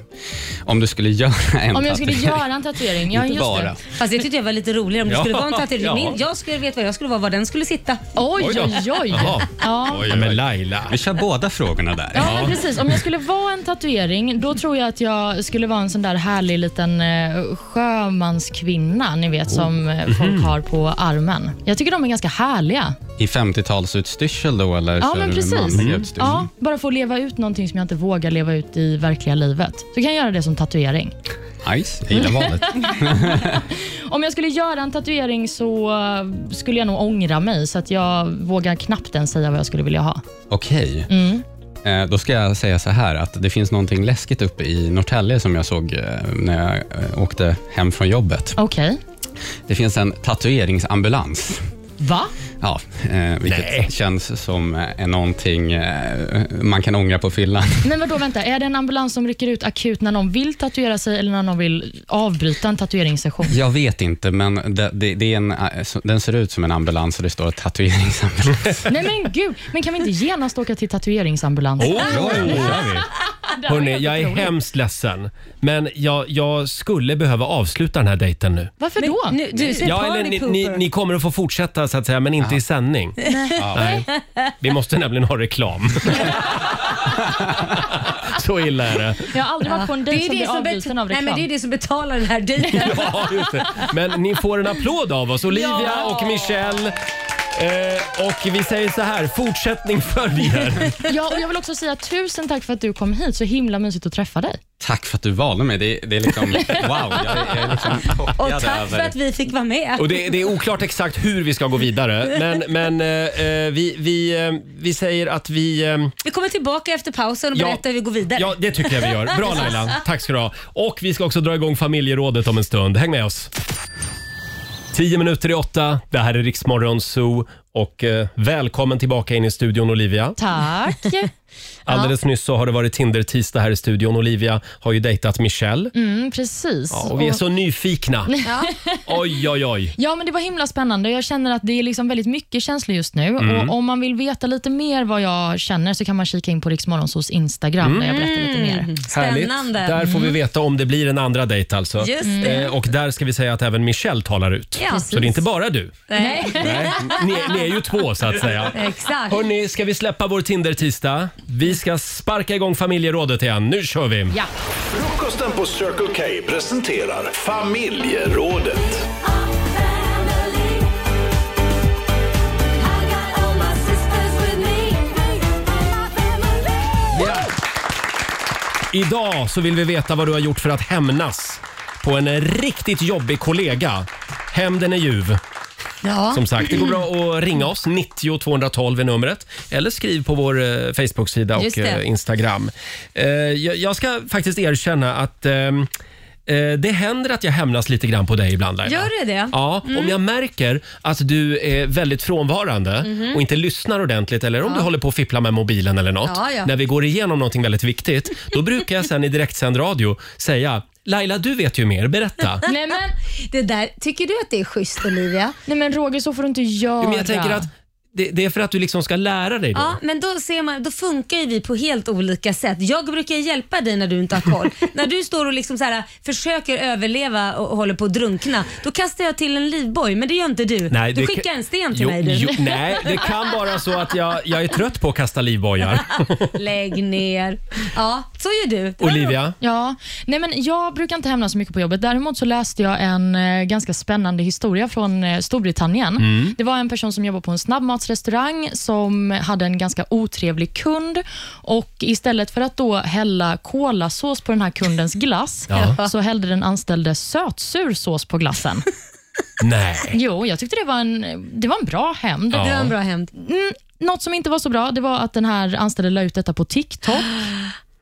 S10: om du skulle *laughs* göra en
S4: Om jag skulle
S10: tatuering.
S4: göra en tatuering? Ja,
S10: *laughs* Inte
S4: just
S10: bara.
S4: det.
S3: vi? Fast det tyckte jag var lite roligare om du
S10: Ja,
S3: skulle vara en tatuering.
S10: ja.
S3: Min- Jag skulle veta vad jag skulle vara, var den skulle sitta.
S4: Oj, oj, oj.
S10: Jaha.
S4: Ja.
S1: Ja, men Laila.
S10: Vi kör båda frågorna där.
S4: Ja, men precis. Om jag skulle vara en tatuering, då tror jag att jag skulle vara en sån där härlig liten eh, sjömanskvinna, ni vet, som eh, folk har på armen. Jag tycker de är ganska härliga.
S10: I 50-talsutstyrsel då, eller
S4: Ja,
S10: kör
S4: men
S10: du
S4: precis. Mm.
S10: manlig
S4: Ja,
S10: utstyrsel?
S4: bara få leva ut någonting som jag inte vågar leva ut i verkliga livet. Så kan jag göra det som tatuering.
S10: Nice, jag gillar
S4: *laughs*
S10: valet.
S4: Om jag skulle göra en tatuering så eh, skulle jag nog ångra mig, så att jag vågar knappt ens säga vad jag skulle vilja ha.
S10: Okej.
S4: Mm.
S10: Eh, Då ska jag säga så här att det finns någonting läskigt uppe i Norrtälje som jag såg eh, när jag eh, åkte hem från jobbet.
S4: Okej.
S10: Det finns en tatueringambulans.
S4: Va?
S10: Ja, eh, vilket känns som eh, någonting eh, man kan ångra på fyllan.
S4: Men vadå, vänta. Är det en ambulans som rycker ut akut när någon vill tatuera sig eller när någon vill avbryta en
S3: *laughs*
S4: tatueringssession?
S10: *laughs* Jag vet inte, men det, det, det är en, eh, så- den ser ut som en ambulans och det står *laughs* tatueringambulans.
S4: Nej men gud, men kan vi inte genast åka till tatueringsambulansen?
S1: Oh, ja, det gör vi.
S4: Det här var
S1: Hörrni,
S4: helt
S1: jag är
S4: otroligt.
S1: hemskt ledsen. Men jag, jag skulle behöva avsluta den här dejten nu.
S4: Varför då?
S3: Nu, du ser
S1: Ja, eller
S3: party
S1: ni,
S3: pooper.
S1: ni, ni kommer att få fortsätta så att säga, men inte i sändning. Nej. Vi måste nämligen ha reklam. så illa är det.
S4: Jag har aldrig varit på en
S3: det är
S4: dejt
S3: ju
S4: som
S3: det
S4: blir avbruten
S3: som,
S4: av
S3: bet- Nej,
S4: reklam.
S3: men det är det som betalar den här dejten.
S1: *laughs* Ja, just det. Men ni får en applåd av oss, Olivia
S4: Ja.
S1: och Michelle. Eh, och vi säger så här, fortsättning följer.
S4: Ja, och jag vill också säga tusen tack för att du kom hit. Så himla mysigt att träffa dig.
S10: Tack för att du valde mig. Det, det är *laughs* liksom, wow, jag, är- jag är liksom
S3: Och
S10: chockad
S3: tack för
S10: över...
S3: att vi fick vara med.
S1: Och det, det är oklart exakt hur vi ska gå vidare, men, men eh, eh, vi, vi, eh, vi säger att vi... eh,
S3: Vi kommer tillbaka efter pausen och
S1: Ja.
S3: berättar hur vi går vidare.
S1: Ja, det tycker jag vi gör. Bra Laila, tack ska du ha. Och vi ska också dra igång familjerådet om en stund. Häng med oss. 10 minuter i åtta, det här är Riksmorgon Zoo och eh, välkommen tillbaka in i studion Olivia.
S3: *laughs*
S4: Tack.
S1: Alldeles nyss så har det varit Tinder-tisdag här i studion. Olivia har ju dejtat Michelle
S4: Mm, precis.
S1: Ja, och vi är
S4: Och-
S1: så nyfikna. *laughs* Oj, oj, oj.
S4: Ja, men det var himla spännande. Jag känner att det är liksom väldigt mycket känslor just nu.
S3: Mm.
S4: Och Om man vill veta lite mer vad jag känner så kan man kika in på Riksmorgonsos Instagram där jag berättar lite
S3: Mm.
S4: mer.
S3: Spännande. Mm.
S1: Härligt. Där får vi veta om det blir en andra dejt alltså.
S3: Just det.
S1: Eh, Och där ska vi säga att även Michelle talar ut.
S3: Ja.
S1: Så det är inte bara du.
S3: Nej. *laughs*
S1: Nej, ni, ni är ju två så att säga.
S3: Exakt.
S1: Hörni, ska vi släppa vår Tinder-tisdag? Vi ska sparka igång familjerådet igen. Nu kör vi!
S4: Ja.
S5: Frukosten på Circle K presenterar familjerådet.
S1: Idag så vill vi veta vad du har gjort för att hämnas på en riktigt jobbig kollega. Hämnden är ljuv.
S3: Ja.
S1: Som sagt, det går bra att ringa oss. 90 212 är numret. Eller skriv på vår eh, Facebook-sida
S3: Just
S1: och
S3: det.
S1: eh, Instagram. Eh, jag, jag ska faktiskt erkänna att ehm, eh, det händer att jag hämnas lite grann på dig ibland Laila.
S3: Gör det det?
S1: Ja,
S3: Mm.
S1: om jag märker att du är väldigt frånvarande
S3: Mhm.
S1: och inte lyssnar ordentligt eller om du håller på att fippla med mobilen eller något.
S3: Ja, ja.
S1: När vi går igenom någonting väldigt viktigt, då brukar jag sen i direktsänd radio säga Laila, du vet ju mer.
S3: *laughs*
S1: Berätta.
S4: Nej, men,
S3: Det där, tycker du att det är schysst Olivia?
S4: nej, men Roger, så får du inte göra.
S1: Men jag tänker att det, det är för att du liksom ska lära dig då.
S3: Ja, men då, ser man, då funkar ju vi på helt olika sätt. Jag brukar hjälpa dig när du inte
S1: *laughs*
S3: har koll. när du står och liksom så här, försöker överleva och håller på att drunkna, då kastar jag till en livboj, men det gör inte du.
S1: Nej,
S3: du
S1: det
S3: skickar
S1: kan-
S3: en sten till
S1: jo,
S3: mig du.
S1: Jo, nej, det kan vara så att jag, jag är trött på att kasta
S3: *laughs*
S1: livbojar.
S3: *laughs* Lägg ner. Ja, så gör du. Det var
S1: Olivia?
S4: Ja, nej men jag brukar inte hämnas så mycket på jobbet. Däremot så läste jag en eh, ganska spännande historia från eh, Storbritannien.
S11: Mm.
S4: Det var en person som jobbade på en snabbmatsrestaurang som hade en ganska otrevlig kund och istället för att då hälla kolasås på den här
S1: *laughs*
S4: kundens glass
S1: Ja.
S4: så hällde den anställde sötsur sås
S1: *laughs*
S4: på glassen.
S1: Nej.
S4: Jo, jag tyckte det var en, det var en bra hämnd.
S1: Ja. Det var en bra
S3: hämnd.
S4: Mm, något som inte var så bra det var att den här anställde la ut detta på TikTok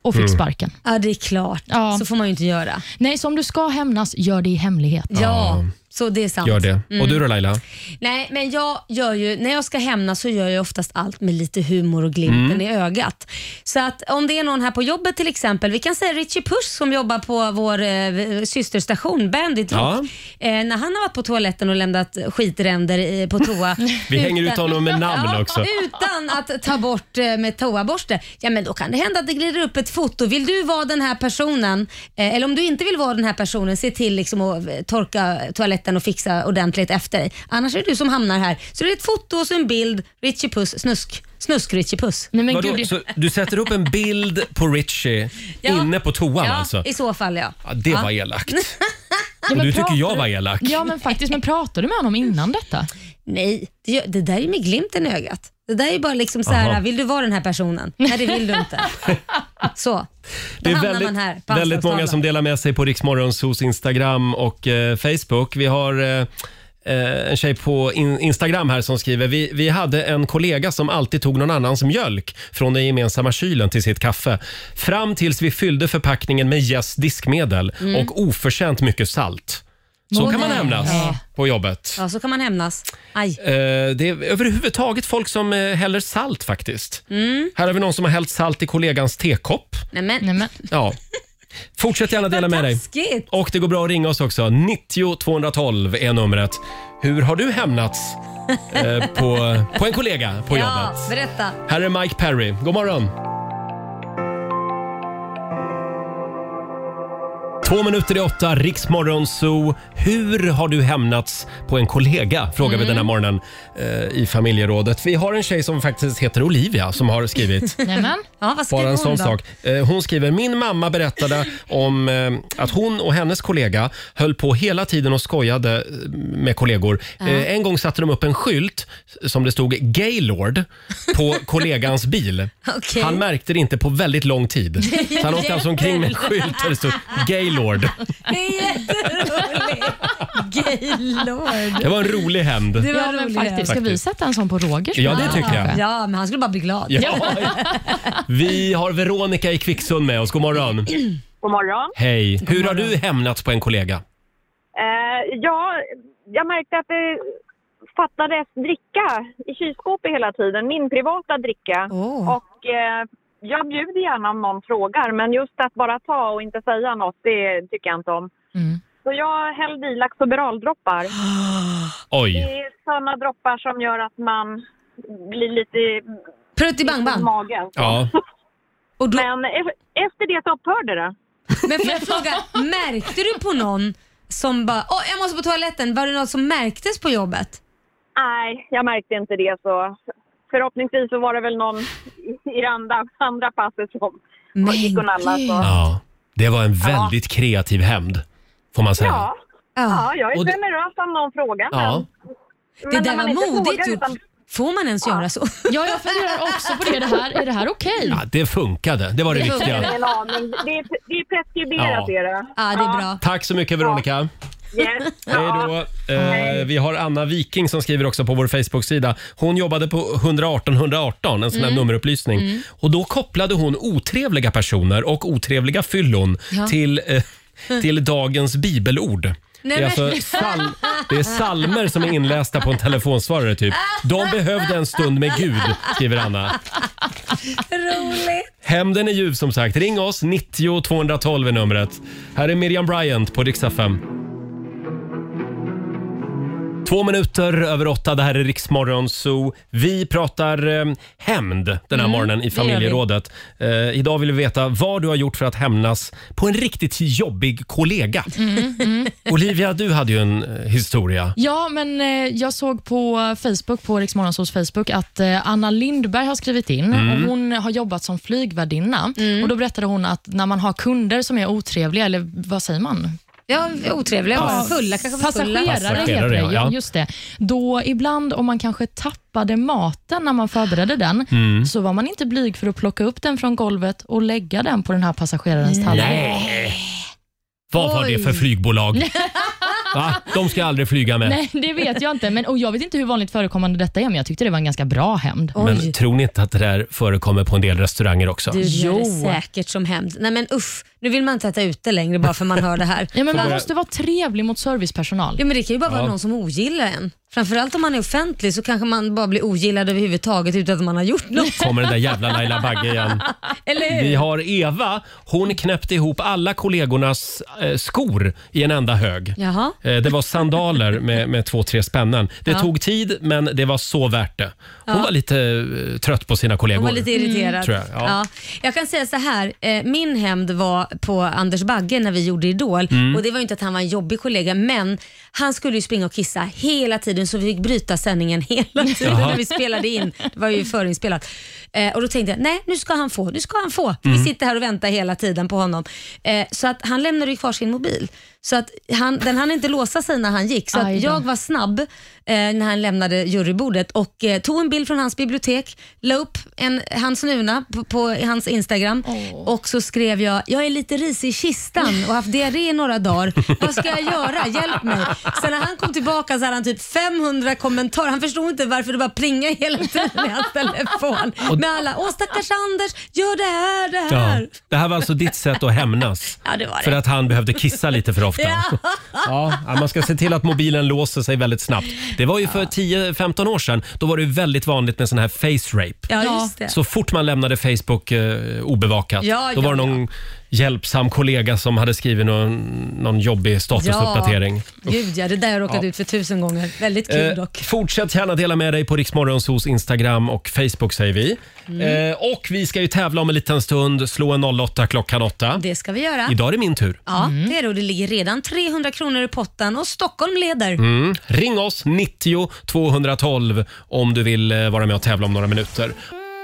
S4: och fick
S3: Mm.
S4: sparken.
S3: Ja, det är klart. Så får man ju inte göra.
S4: Nej, så om du ska hämnas, gör det i hemlighet.
S3: Ja, så det är sant.
S1: Gör det.
S3: Mm.
S1: Och du då Laila?
S3: Nej, men jag gör ju, när jag ska hämnas så gör jag oftast allt med lite humor och glimten
S1: Mm.
S3: i ögat. Så att om det är någon här på jobbet till exempel, vi kan säga Richie Puss som jobbar på vår eh, systerstation Bandit Rock. Eh, när han har varit på toaletten och lämnat skitränder i, på toa.
S1: Vi hänger ut honom med namn
S3: ja,
S1: också.
S3: Utan att ta bort eh, med toaborste. Ja, men då kan det hända att det glider upp ett foto. Vill du vara den här personen, eh, eller om du inte vill vara den här personen, se till liksom att eh, torka toaletten och fixa ordentligt efter dig. Annars är det du som hamnar här. Så det är ett foto och så en bild. Richie Puss, snusk. Snusk-Richie Puss.
S4: Nej,
S1: Vadå? Så du sätter upp en bild på Richie inne på toan
S3: ja,
S1: alltså?
S3: i så fall ja.
S1: Ja, det var elakt.
S4: Ja,
S1: Och
S4: men
S1: du tycker
S4: pratar
S1: jag
S4: du-
S1: var elak?
S4: Ja, men faktiskt. Men pratade du med honom innan detta?
S3: Nej, det, gör- det där är med glimten i ögat. Det där är bara liksom så här,
S1: Aha.
S3: vill du vara den här personen? Nej, det vill du
S1: *laughs*
S3: inte. Så, då
S1: Det är
S3: hamnar
S1: väldigt,
S3: man här. på
S1: väldigt många
S3: Anslagstavlan.
S1: som delar med sig på Riksmorgonsos Instagram och eh, Facebook. Vi har eh, eh, en tjej på in, Instagram här som skriver vi, vi hade en kollega som alltid tog någon annans mjölk från den gemensamma kylen till sitt kaffe. Fram tills vi fyllde förpackningen med jäst diskmedel
S3: Mm.
S1: och oförtjänt mycket salt. Så
S3: Åh,
S1: kan man
S3: nej.
S1: hämnas
S3: Ja.
S1: på jobbet.
S3: Ja, så kan man hämnas. Aj.
S1: Eh, Det är överhuvudtaget folk som eh, häller salt faktiskt.
S3: Mm.
S1: Här har vi någon som har hällt salt i kollegans tekopp.
S3: Nämen.
S1: Ja. Fortsätt gärna dela med dig.
S3: taskigt.
S1: Och det går bra att ringa oss också. 90 212 är numret. Hur har du hämnats eh, på, på en kollega på jobbet?
S3: Ja, berätta.
S1: Här är Mike Perry. God morgon! Två minuter i åtta, Riksmorgon Zoo. Hur har du hämnats på en kollega? Frågar vi den här morgonen eh, i familjerådet. Vi har en tjej som faktiskt heter Olivia som har skrivit.
S4: Nämen.
S3: Ja, vad
S1: Bara
S3: skriver
S1: en
S3: hon
S1: sån
S3: då?
S1: sak. Eh, Hon skriver, min mamma berättade om eh, att hon och hennes kollega höll på hela tiden och skojade eh, med kollegor.
S12: Ja.
S1: Eh, En gång satte de upp en skylt som det stod Gaylord *laughs* på kollegans bil.
S12: Okej.
S1: Han märkte det inte på väldigt lång tid. Så han åkte alltså omkring med en skylt där det stod Gaylord.
S3: Det är jätteroligt. Gaylord.
S1: *laughs* Det var en rolig hämnd.
S4: ja, men faktiskt. Ska vi sätta en sån på Rogers?
S1: Ja, det *laughs* tycker jag.
S3: Ja, men han skulle bara bli glad.
S1: Ja. *laughs* Vi har Veronica i Kvicksund med oss. God morgon.
S13: God morgon.
S1: Hej. Hur har du hämnats på en kollega?
S13: Eh, ja, jag märkte att det fattades dricka i kylskåpet hela tiden. Min privata dricka.
S3: Mm.
S13: Och eh, jag bjuder gärna om någon frågar, men just att bara ta och inte säga något, det tycker jag inte om. Så jag hällde i laxoberaldroppar.
S1: Oj.
S13: Det är sådana droppar som gör att man blir lite...
S3: Pruttibang-bang.
S13: i magen.
S1: Ja.
S13: Men e- efter det så upphörde det.
S3: Men får jag fråga, märkte du på någon som bara åh jag måste på toaletten, var det något som märktes på jobbet?
S13: Nej, jag märkte inte det. så Förhoppningsvis så var det väl någon i det andra, andra passet som
S3: Men
S13: gick och nallade. Så.
S1: Ja, det var en väldigt kreativ hämnd, får man säga.
S13: Ja. ja, jag är
S1: Och det-
S13: generös om någon frågar.
S1: Ja.
S13: men-
S3: Det
S13: men
S3: där
S13: när
S3: var
S13: man inte
S3: modigt
S13: frågar
S3: gjort.
S13: utan-
S3: Får man ens göra så? *laughs*
S4: Ja, jag funderar också på det. det här, är det här okej?
S1: Ja, det funkade. Det var det,
S13: Jag har
S1: viktiga.
S13: ingen aning. Det är, det är preskriberat.
S1: Ja.
S13: Är det.
S3: Ja, det är bra.
S1: Tack så mycket, Veronica.
S13: Yes.
S1: Hej då. Eh, vi har Anna Viking som skriver också på vår Facebook-sida. Hon jobbade på 118 118, en sån här
S12: Mm.
S1: nummerupplysning.
S12: Mm.
S1: Och då kopplade hon otrevliga personer och otrevliga fyllon
S12: Ja.
S1: till, eh, till dagens bibelord. det, är
S12: Nej, men-
S1: alltså sal- det är salmer som är inlästa på en telefonsvarare typ. De behövde en stund med Gud, skriver Anna.
S3: Roligt.
S1: Hämnden är ljuv som sagt. Ring oss, 90 212 är numret. Här är Miriam Bryant på Dix FM. Två minuter över åtta, det här är Riksmorgon Zoo. Vi pratar eh, hämnd den här
S11: Mm,
S1: morgonen
S11: det
S1: i
S11: gör
S1: familjerådet. Eh, idag vill vi veta vad du har gjort för att hämnas på en riktigt jobbig kollega.
S4: Mm, mm.
S1: Olivia, du hade ju en eh, historia.
S4: Ja, men eh, jag såg på Facebook, på Rix Morgonzoos Facebook, att eh, Anna Lindberg har skrivit in.
S12: Mm.
S4: Och hon har jobbat som flygvärdinna.
S1: Mm.
S4: Och då berättade hon att när man har kunder som är otrevliga, eller vad säger man?
S3: Ja, otrevliga. Fulla, kanske för fulla.
S4: passagerare, heter det.
S3: Passagerare, ja.
S4: Ja, just det. Då ibland om man kanske tappade maten när man förberedde den,
S1: Mm.
S4: så var man inte blyg för att plocka upp den från golvet och lägga den på den här passagerarens tallrik.
S1: Vad var det
S4: Oj.
S1: för flygbolag? Va? De ska jag aldrig flyga med.
S4: Nej, det vet jag inte. Men, och jag vet inte hur vanligt förekommande detta är, men jag tyckte det var en ganska bra hämnd.
S1: Men tror ni inte att det där förekommer på en del restauranger också?
S3: Du gör det säkert som hämnd. Nej men usch, nu vill man inte äta ute längre bara för man hör det här.
S4: *laughs* Ja, men man måste vara trevlig mot servicepersonal.
S3: Ja, men det kan ju bara
S4: Ja.
S3: vara någon som ogillar en. Framförallt om man är offentlig så kanske man bara blir ogillad överhuvudtaget utan att man har
S4: *laughs*
S3: gjort något.
S1: Kommer den där jävla Laila Bagge
S3: *laughs*
S1: igen.
S3: Eller hur?
S1: Vi har Eva. Hon knäppte ihop alla kollegornas eh, skor i en enda hög.
S3: Jaha.
S1: Eh, Det var sandaler med, med två, tre spännen. Det
S3: Ja.
S1: tog tid, men det var så värt det. Hon
S3: Ja.
S1: var lite eh, trött på sina kollegor.
S3: Hon var lite irriterad.
S1: Tror jag. Ja.
S3: jag kan säga så här, eh, min hämnd var på Anders Bagge när vi gjorde Idol
S12: Mm.
S3: och det var ju inte att han var en jobbig kollega men han skulle ju springa och kissa hela tiden så vi fick bryta sändningen *laughs* hela tiden
S12: Jaha.
S3: när vi spelade in. Det var ju förinspelat. Eh, och då tänkte jag, nej nu ska han få, nu ska han få.
S12: Mm.
S3: Vi sitter här och väntar hela tiden på honom. Eh, så att han lämnade ju kvar sin mobil. Så att han, den hann inte låsa sig när han gick. Så
S12: Aj
S3: att
S12: då.
S3: jag var snabb eh, när han lämnade jurybordet och eh, tog en bild från hans bibliotek, la upp en, hans nuna på, på hans Instagram och så skrev jag, jag är lite risig i kistan och haft diarré i några dagar. Vad ska jag göra? Hjälp mig. Sen när han kom tillbaka så hade han typ 500 kommentarer. Han förstod inte varför det bara plingade hela tiden i hans telefon. Med alla, åh stackars Anders, gör det här, det
S1: Ja.
S3: här. Ja.
S1: Det här var alltså ditt sätt att hämnas.
S3: det var det.
S1: För att han behövde kissa lite för ofta.
S3: *laughs* Ja.
S1: Ja, ja, man ska se till att mobilen låser sig väldigt snabbt. Det var ju för 10-15 år sedan. Då var det ju väldigt vanligt med sån här face rape.
S3: Ja, just det.
S1: Så fort man lämnade Facebook eh, obevakat,
S3: Ja,
S1: då
S3: ja,
S1: var det någon hjälpsam kollega som hade skrivit någon, någon jobbig statusuppdatering.
S3: Ja, gud ja, det där har jag råkat
S1: Ja.
S3: ut för tusen gånger. Väldigt kul
S1: Eh,
S3: dock.
S1: fortsätt gärna dela med dig på Riksmorgonsos Instagram och Facebook säger vi.
S3: Mm.
S1: Eh, och vi ska ju tävla om en liten stund. Slå en 08 klockan 8.
S3: Det ska vi göra.
S1: Idag är det min tur.
S3: Ja, det är det. Och det ligger redan 300 kronor i potten och Stockholm leder.
S1: Mm. Ring oss 90 212 om du vill eh, vara med och tävla om några minuter.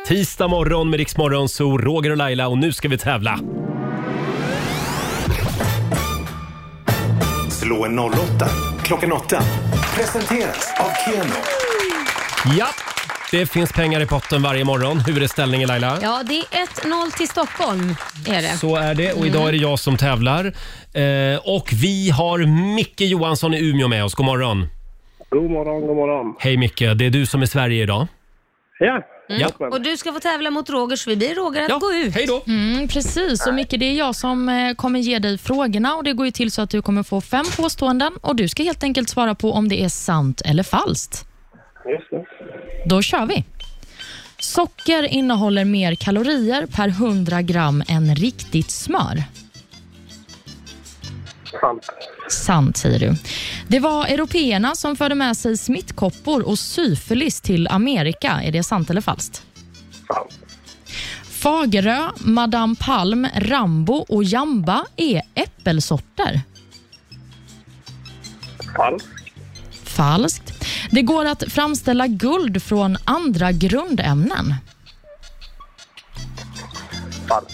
S1: Tisdag morgon med Riksmorgon, så Roger och Laila och nu ska vi tävla.
S5: Slå en 08 klockan 8. Presenteras av Keno.
S1: Ja, det finns pengar i potten varje morgon. Hur är ställningen Laila?
S3: Ja, det är 1-0 till Stockholm. Är det.
S1: Så är det och idag
S3: Mm.
S1: är det jag som tävlar. Eh, och vi har Micke Johansson i Umeå med oss. God morgon.
S6: God morgon, god morgon.
S1: Hej Micke, det är du som är Sverige idag.
S6: Ja.
S1: Ja.
S3: Och du ska få tävla mot Roger, så vi ber Roger att gå ut.
S1: Hej då.
S4: Mm, precis, och Micke, det är jag som eh, kommer ge dig frågorna och det går ju till så att du kommer få fem påståenden och du ska helt enkelt svara på om det är sant eller falskt.
S6: Just det.
S4: Då kör vi. Socker innehåller mer kalorier per 100 gram än riktigt smör.
S6: Sant.
S4: Sant, säger du. Det var européerna som förde med sig smittkoppor och syfilis till Amerika. Är det sant eller falskt?
S6: Sant.
S4: Fagerö, Madame Palm, Rambo och Jamba är äppelsorter.
S6: Falskt.
S4: Falskt. Det går att framställa guld från andra grundämnen.
S6: Falskt.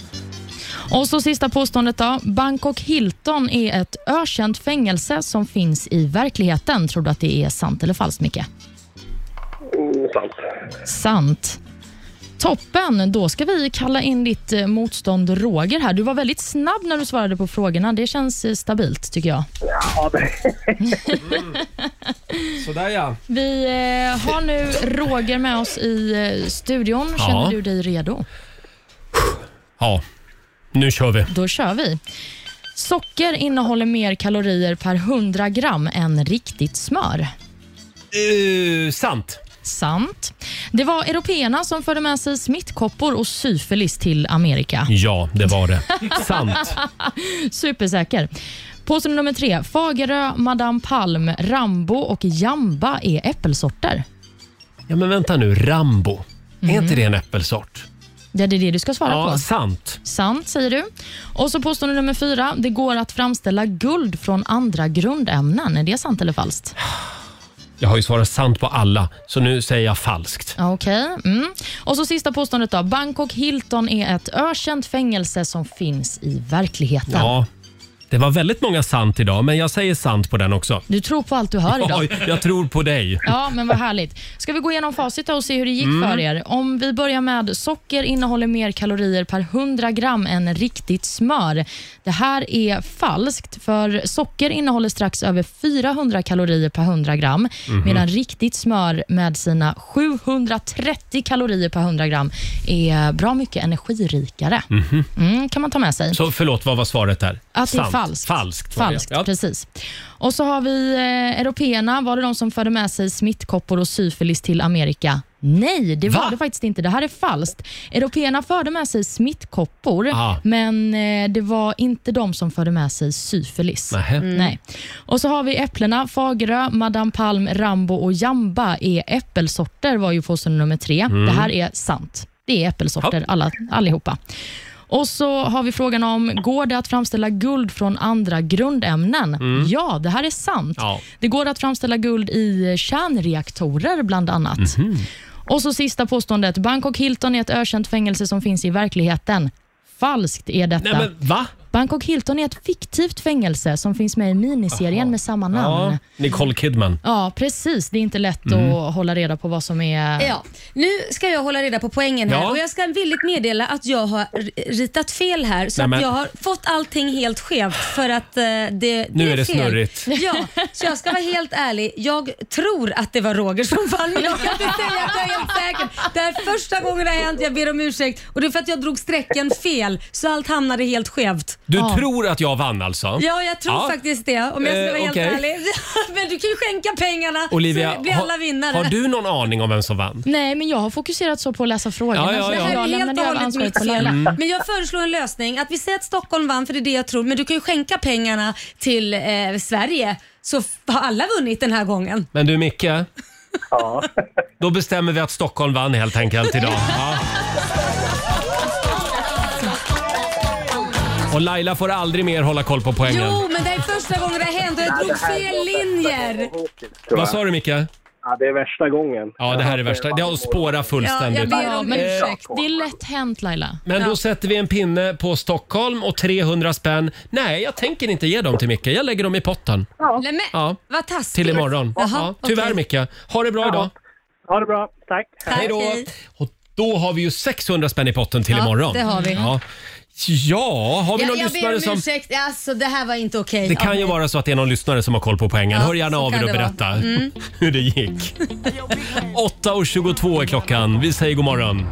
S4: Och så sista påståendet då. Bangkok Hilton är ett ökänt fängelse som finns i verkligheten. Tror du att det är sant eller falskt, Micke?
S6: Mm, sant.
S4: Sant. Toppen! Då ska vi kalla in ditt eh, motstånd Roger här. Du var väldigt snabb när du svarade på frågorna. Det känns eh, stabilt tycker jag.
S6: Ja, det...
S1: Sådär ja.
S4: Vi eh, har nu Roger med oss i eh, studion.
S1: Ja.
S4: Känner du dig redo?
S1: Ja, nu kör vi.
S4: Då kör vi. Socker innehåller mer kalorier per 100 gram än riktigt smör.
S1: Eh, sant.
S4: Sant. Det var européerna som förde med sig smittkoppor och syfilis till Amerika.
S1: Ja, det var det. Sant.
S4: Supersäker. Påstående nummer tre. Fagerö, Madame Palm, Rambo och Jamba är äppelsorter.
S1: Ja, men vänta nu. Rambo. Är inte det en äppelsort?
S4: Ja, det är det du ska svara
S1: ja,
S4: på.
S1: sant.
S4: Sant, säger du. Och så påstående nummer fyra. Det går att framställa guld från andra grundämnen. Är det sant
S1: *laughs*
S4: eller falskt?
S1: Jag har ju svarat sant på alla, så nu säger jag falskt.
S4: Ja, Okej. Mm. Och så sista påståendet då. Bangkok Hilton är ett ökänt fängelse som finns i verkligheten.
S1: Ja, det var väldigt många sant idag, men jag säger sant på den också.
S4: Du tror på allt du hör
S1: Ja,
S4: idag.
S1: jag tror på *laughs* dig.
S4: Ja, men vad härligt. Ska vi gå igenom facit då och se hur det gick
S1: Mm.
S4: för er? Om vi börjar med socker innehåller mer kalorier per 100 gram än riktigt smör. Det här är falskt, för socker innehåller strax över 400 kalorier per 100 gram,
S11: Mhm.
S4: medan riktigt smör med sina 730 kalorier per 100 gram är bra mycket energirikare.
S1: Mhm.
S4: Mm, kan man ta med sig.
S1: Så förlåt, vad var svaret där?
S4: Att det är
S1: Sant.
S4: falskt.
S1: Falskt. var det,
S4: Falskt,
S1: ja.
S4: precis. Och så har vi eh, européerna. Var det de som förde med sig smittkoppor och syfilis till Amerika? Nej, det var det faktiskt inte. Det här är falskt. Européerna förde med sig smittkoppor,
S11: Ah.
S4: men eh, det var inte de som förde med sig syfilis.
S11: Nähä. Mm.
S4: Nej. Och så har vi äpplena. Fagerö, Madame Palm, Rambo och Jamba är äppelsorter, var ju påstående nummer tre.
S11: Mm.
S4: Det här är sant. Det är äppelsorter, alla, allihopa. Och så har vi frågan om, går det att framställa guld från andra grundämnen?
S11: Mm.
S4: Ja, det här är sant.
S11: Ja.
S4: Det går att framställa guld i kärnreaktorer bland annat.
S11: Mhm.
S4: Och så sista påståendet, Bangkok Hilton är ett ökänt fängelse som finns i verkligheten. Falskt är detta.
S1: Nej, men va?
S4: Bangkok Hilton är ett fiktivt fängelse som finns med i miniserien med samma namn.
S1: Ja,
S4: Ja.
S1: Nicole Kidman.
S4: precis. Det är inte lätt
S1: Mm.
S4: att hålla reda på vad som är...
S3: Ja, nu ska jag hålla reda på poängen här
S4: Ja.
S3: och jag ska villigt meddela att jag har r- ritat fel här så
S1: Nej, men-
S3: att jag har fått allting helt skevt för att eh, det, det
S1: Nu är det
S3: fel.
S1: snurrigt.
S3: Ja, så jag ska vara helt ärlig. Jag tror att det var Roger som vann men jag kan inte säga att jag är helt säker. Det här är första gången det har hänt, jag ber om ursäkt och det är för att jag drog strecken fel så allt hamnade helt skevt.
S1: Du
S3: ja.
S1: tror att jag vann alltså?
S3: Ja, jag tror faktiskt det om jag ska
S1: Eh,
S3: vara helt
S1: okej.
S3: ärlig. *laughs* Men du kan ju skänka pengarna
S1: Olivia,
S3: så blir alla vinnare.
S1: har du någon aning om vem som vann?
S4: Nej, men jag har fokuserat så på att läsa frågorna.
S1: Ja, ja,
S4: så
S1: ja.
S4: jag
S1: Det här är
S3: helt
S4: lämnade över
S3: och hållet
S4: ansvaret
S3: mitt
S4: på
S3: fel.
S4: Laila.
S1: Mm.
S3: Men jag föreslår en lösning. Att vi säger att Stockholm vann, för det är det jag tror. Men du kan ju skänka pengarna till eh, Sverige. Så f- har alla vunnit den här gången.
S1: Men du Micke? Ja. Då bestämmer vi att Stockholm vann helt enkelt
S6: *laughs*
S1: idag. Ja. Och Laila får aldrig mer hålla koll på poängen.
S3: Jo, men det är första gången det har hänt och jag drog fel linjer.
S1: Vad sa du Micke?
S6: Ja, det är värsta gången.
S1: Ja, det här är värsta. Det har att spåra fullständigt.
S4: men
S1: Eh,
S4: Det är lätt hänt Laila.
S1: Men då sätter vi en pinne på Stockholm och 300 spänn. Nej, jag tänker inte ge dem till Micke. Jag lägger dem i potten.
S3: Ja. Nej, men,
S1: Ja.
S3: Vad taskigt.
S1: Till imorgon.
S3: Jaha,
S1: ja, tyvärr
S3: okej.
S1: Micke. Ha det bra idag.
S6: Ha det bra. Tack.
S1: Hej då. Och då har vi ju 600 spänn i potten till
S3: Ja,
S1: imorgon.
S3: det har vi.
S1: Ja, ja har vi
S3: Ja,
S1: någon
S3: jag ber
S1: lyssnare
S3: om
S1: som...
S3: ursäkt. Alltså, det här var inte okej.
S1: Det kan ju
S3: Ja,
S1: vara så att det är någon lyssnare som har koll på poängen.
S3: Ja,
S1: Hör gärna
S3: så
S1: av er
S3: kan
S1: och
S3: det vara.
S1: berätta
S3: Mm.
S1: *laughs* hur det gick. 8.22 är klockan. Vi säger god morgon.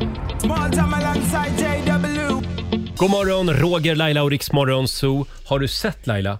S1: God morgon, Roger, Laila och Riksmorgon Zoo. Har du sett Laila?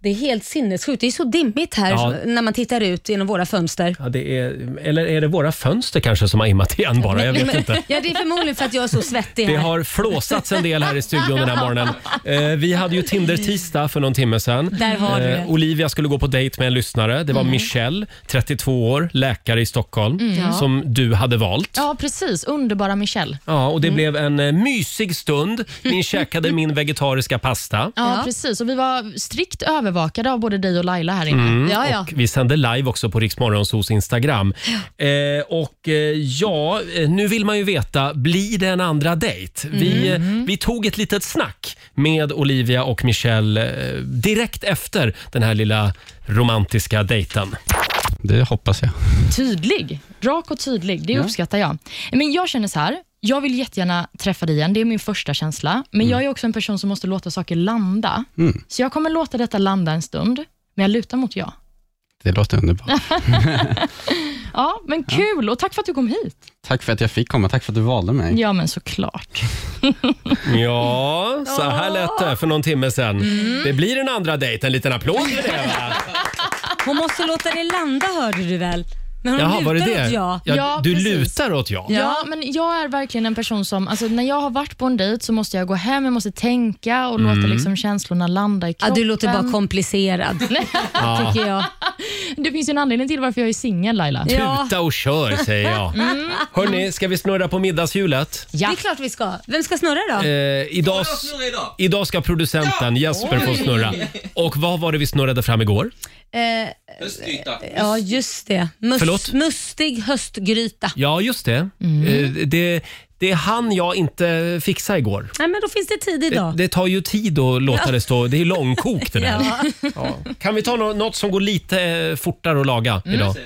S3: Det är helt sinnessjukt. Det är så dimmigt här
S1: Ja.
S3: när man tittar ut genom våra fönster.
S1: Ja, det är, eller är det våra fönster kanske som har immat igen bara? Jag vet
S3: *laughs* Men-
S1: inte.
S3: Ja, det är förmodligen för att jag är så svettig
S1: Det
S3: här.
S1: har flåsats en del här i studion den här morgonen. Eh, vi hade ju Tinder-tisdag för någon timme sedan. Eh,
S3: Där har du det. Mm.
S1: Olivia skulle gå på dejt med en lyssnare. Det var Michelle, 32 år, läkare i Stockholm,
S4: Mm.
S1: som du hade valt.
S4: Ja, precis. Underbara Michelle.
S1: Ja,
S3: Mm.
S1: och det blev en eh, mysig stund.
S3: *laughs*
S1: Ni käkade min vegetariska pasta.
S4: Ja, precis. Och vi var strikt övervakade av både dig och Laila här inne.
S1: Mm, Och vi sände live också på Riksmorgonsos Instagram. Eh, och eh, ja, eh, nu vill man ju veta, blir det en andra dejt? Vi, eh, vi tog ett litet snack med Olivia och Michelle eh, direkt efter den här lilla romantiska dejten.
S10: Det hoppas jag.
S4: Tydlig. Rak och tydlig. Det
S10: Ja.
S4: uppskattar jag. Men jag känner så här. Jag vill jättegärna träffa dig igen. Det är min första känsla. Men jag är också en person som måste låta saker landa.
S10: Mm.
S4: Så jag kommer låta detta landa en stund, men jag lutar mot ja.
S10: Det låter underbart.
S4: Ja, men kul och tack för att du kom hit.
S10: Tack för att jag fick komma. Tack för att du valde mig.
S4: Ja, men såklart.
S1: Ja, så här lät det för någon timme sedan. Det blir en andra dejt. En liten applåd för det va?
S3: Hon måste låta det landa hörde du väl? Men hon
S1: Jaha, var det
S3: lutar
S1: det?
S3: åt ja.
S1: Ja, du
S4: precis.
S1: lutar åt ja.
S4: Ja. men jag är verkligen en person som, alltså, när jag har varit på en dejt så måste jag gå hem, jag måste tänka och
S1: Mm.
S4: låta liksom, känslorna landa i
S3: Ja,
S4: kroppen.
S3: du låter bara komplicerad,
S1: Ja.
S3: tycker jag.
S4: Det finns ju en anledning till varför jag är singel Laila.
S1: Tuta och kör säger jag.
S4: Mm.
S1: Hörni, ska vi snurra på middagshjulet?
S3: Det är klart vi ska. Vem ska snurra då?
S1: Eh, idag, idag ska producenten Jesper få
S3: Oj.
S1: snurra. Och vad var det vi snurrade fram igår?
S3: Eh,
S11: Höstgryta.
S3: ja, just det. Mus-
S1: Förlåt?
S3: Mustig höstgryta.
S1: Ja, just det.
S3: Mm.
S1: Eh, det. Det hann jag inte fixa igår.
S3: Nej, men då finns det tid
S1: Det,
S3: idag.
S1: det tar ju tid att låta
S3: Ja.
S1: det stå. Det är långkokt det där.
S3: *laughs* Ja.
S1: Kan vi ta nå- något som går lite eh, fortare att laga
S2: Mm.
S1: idag?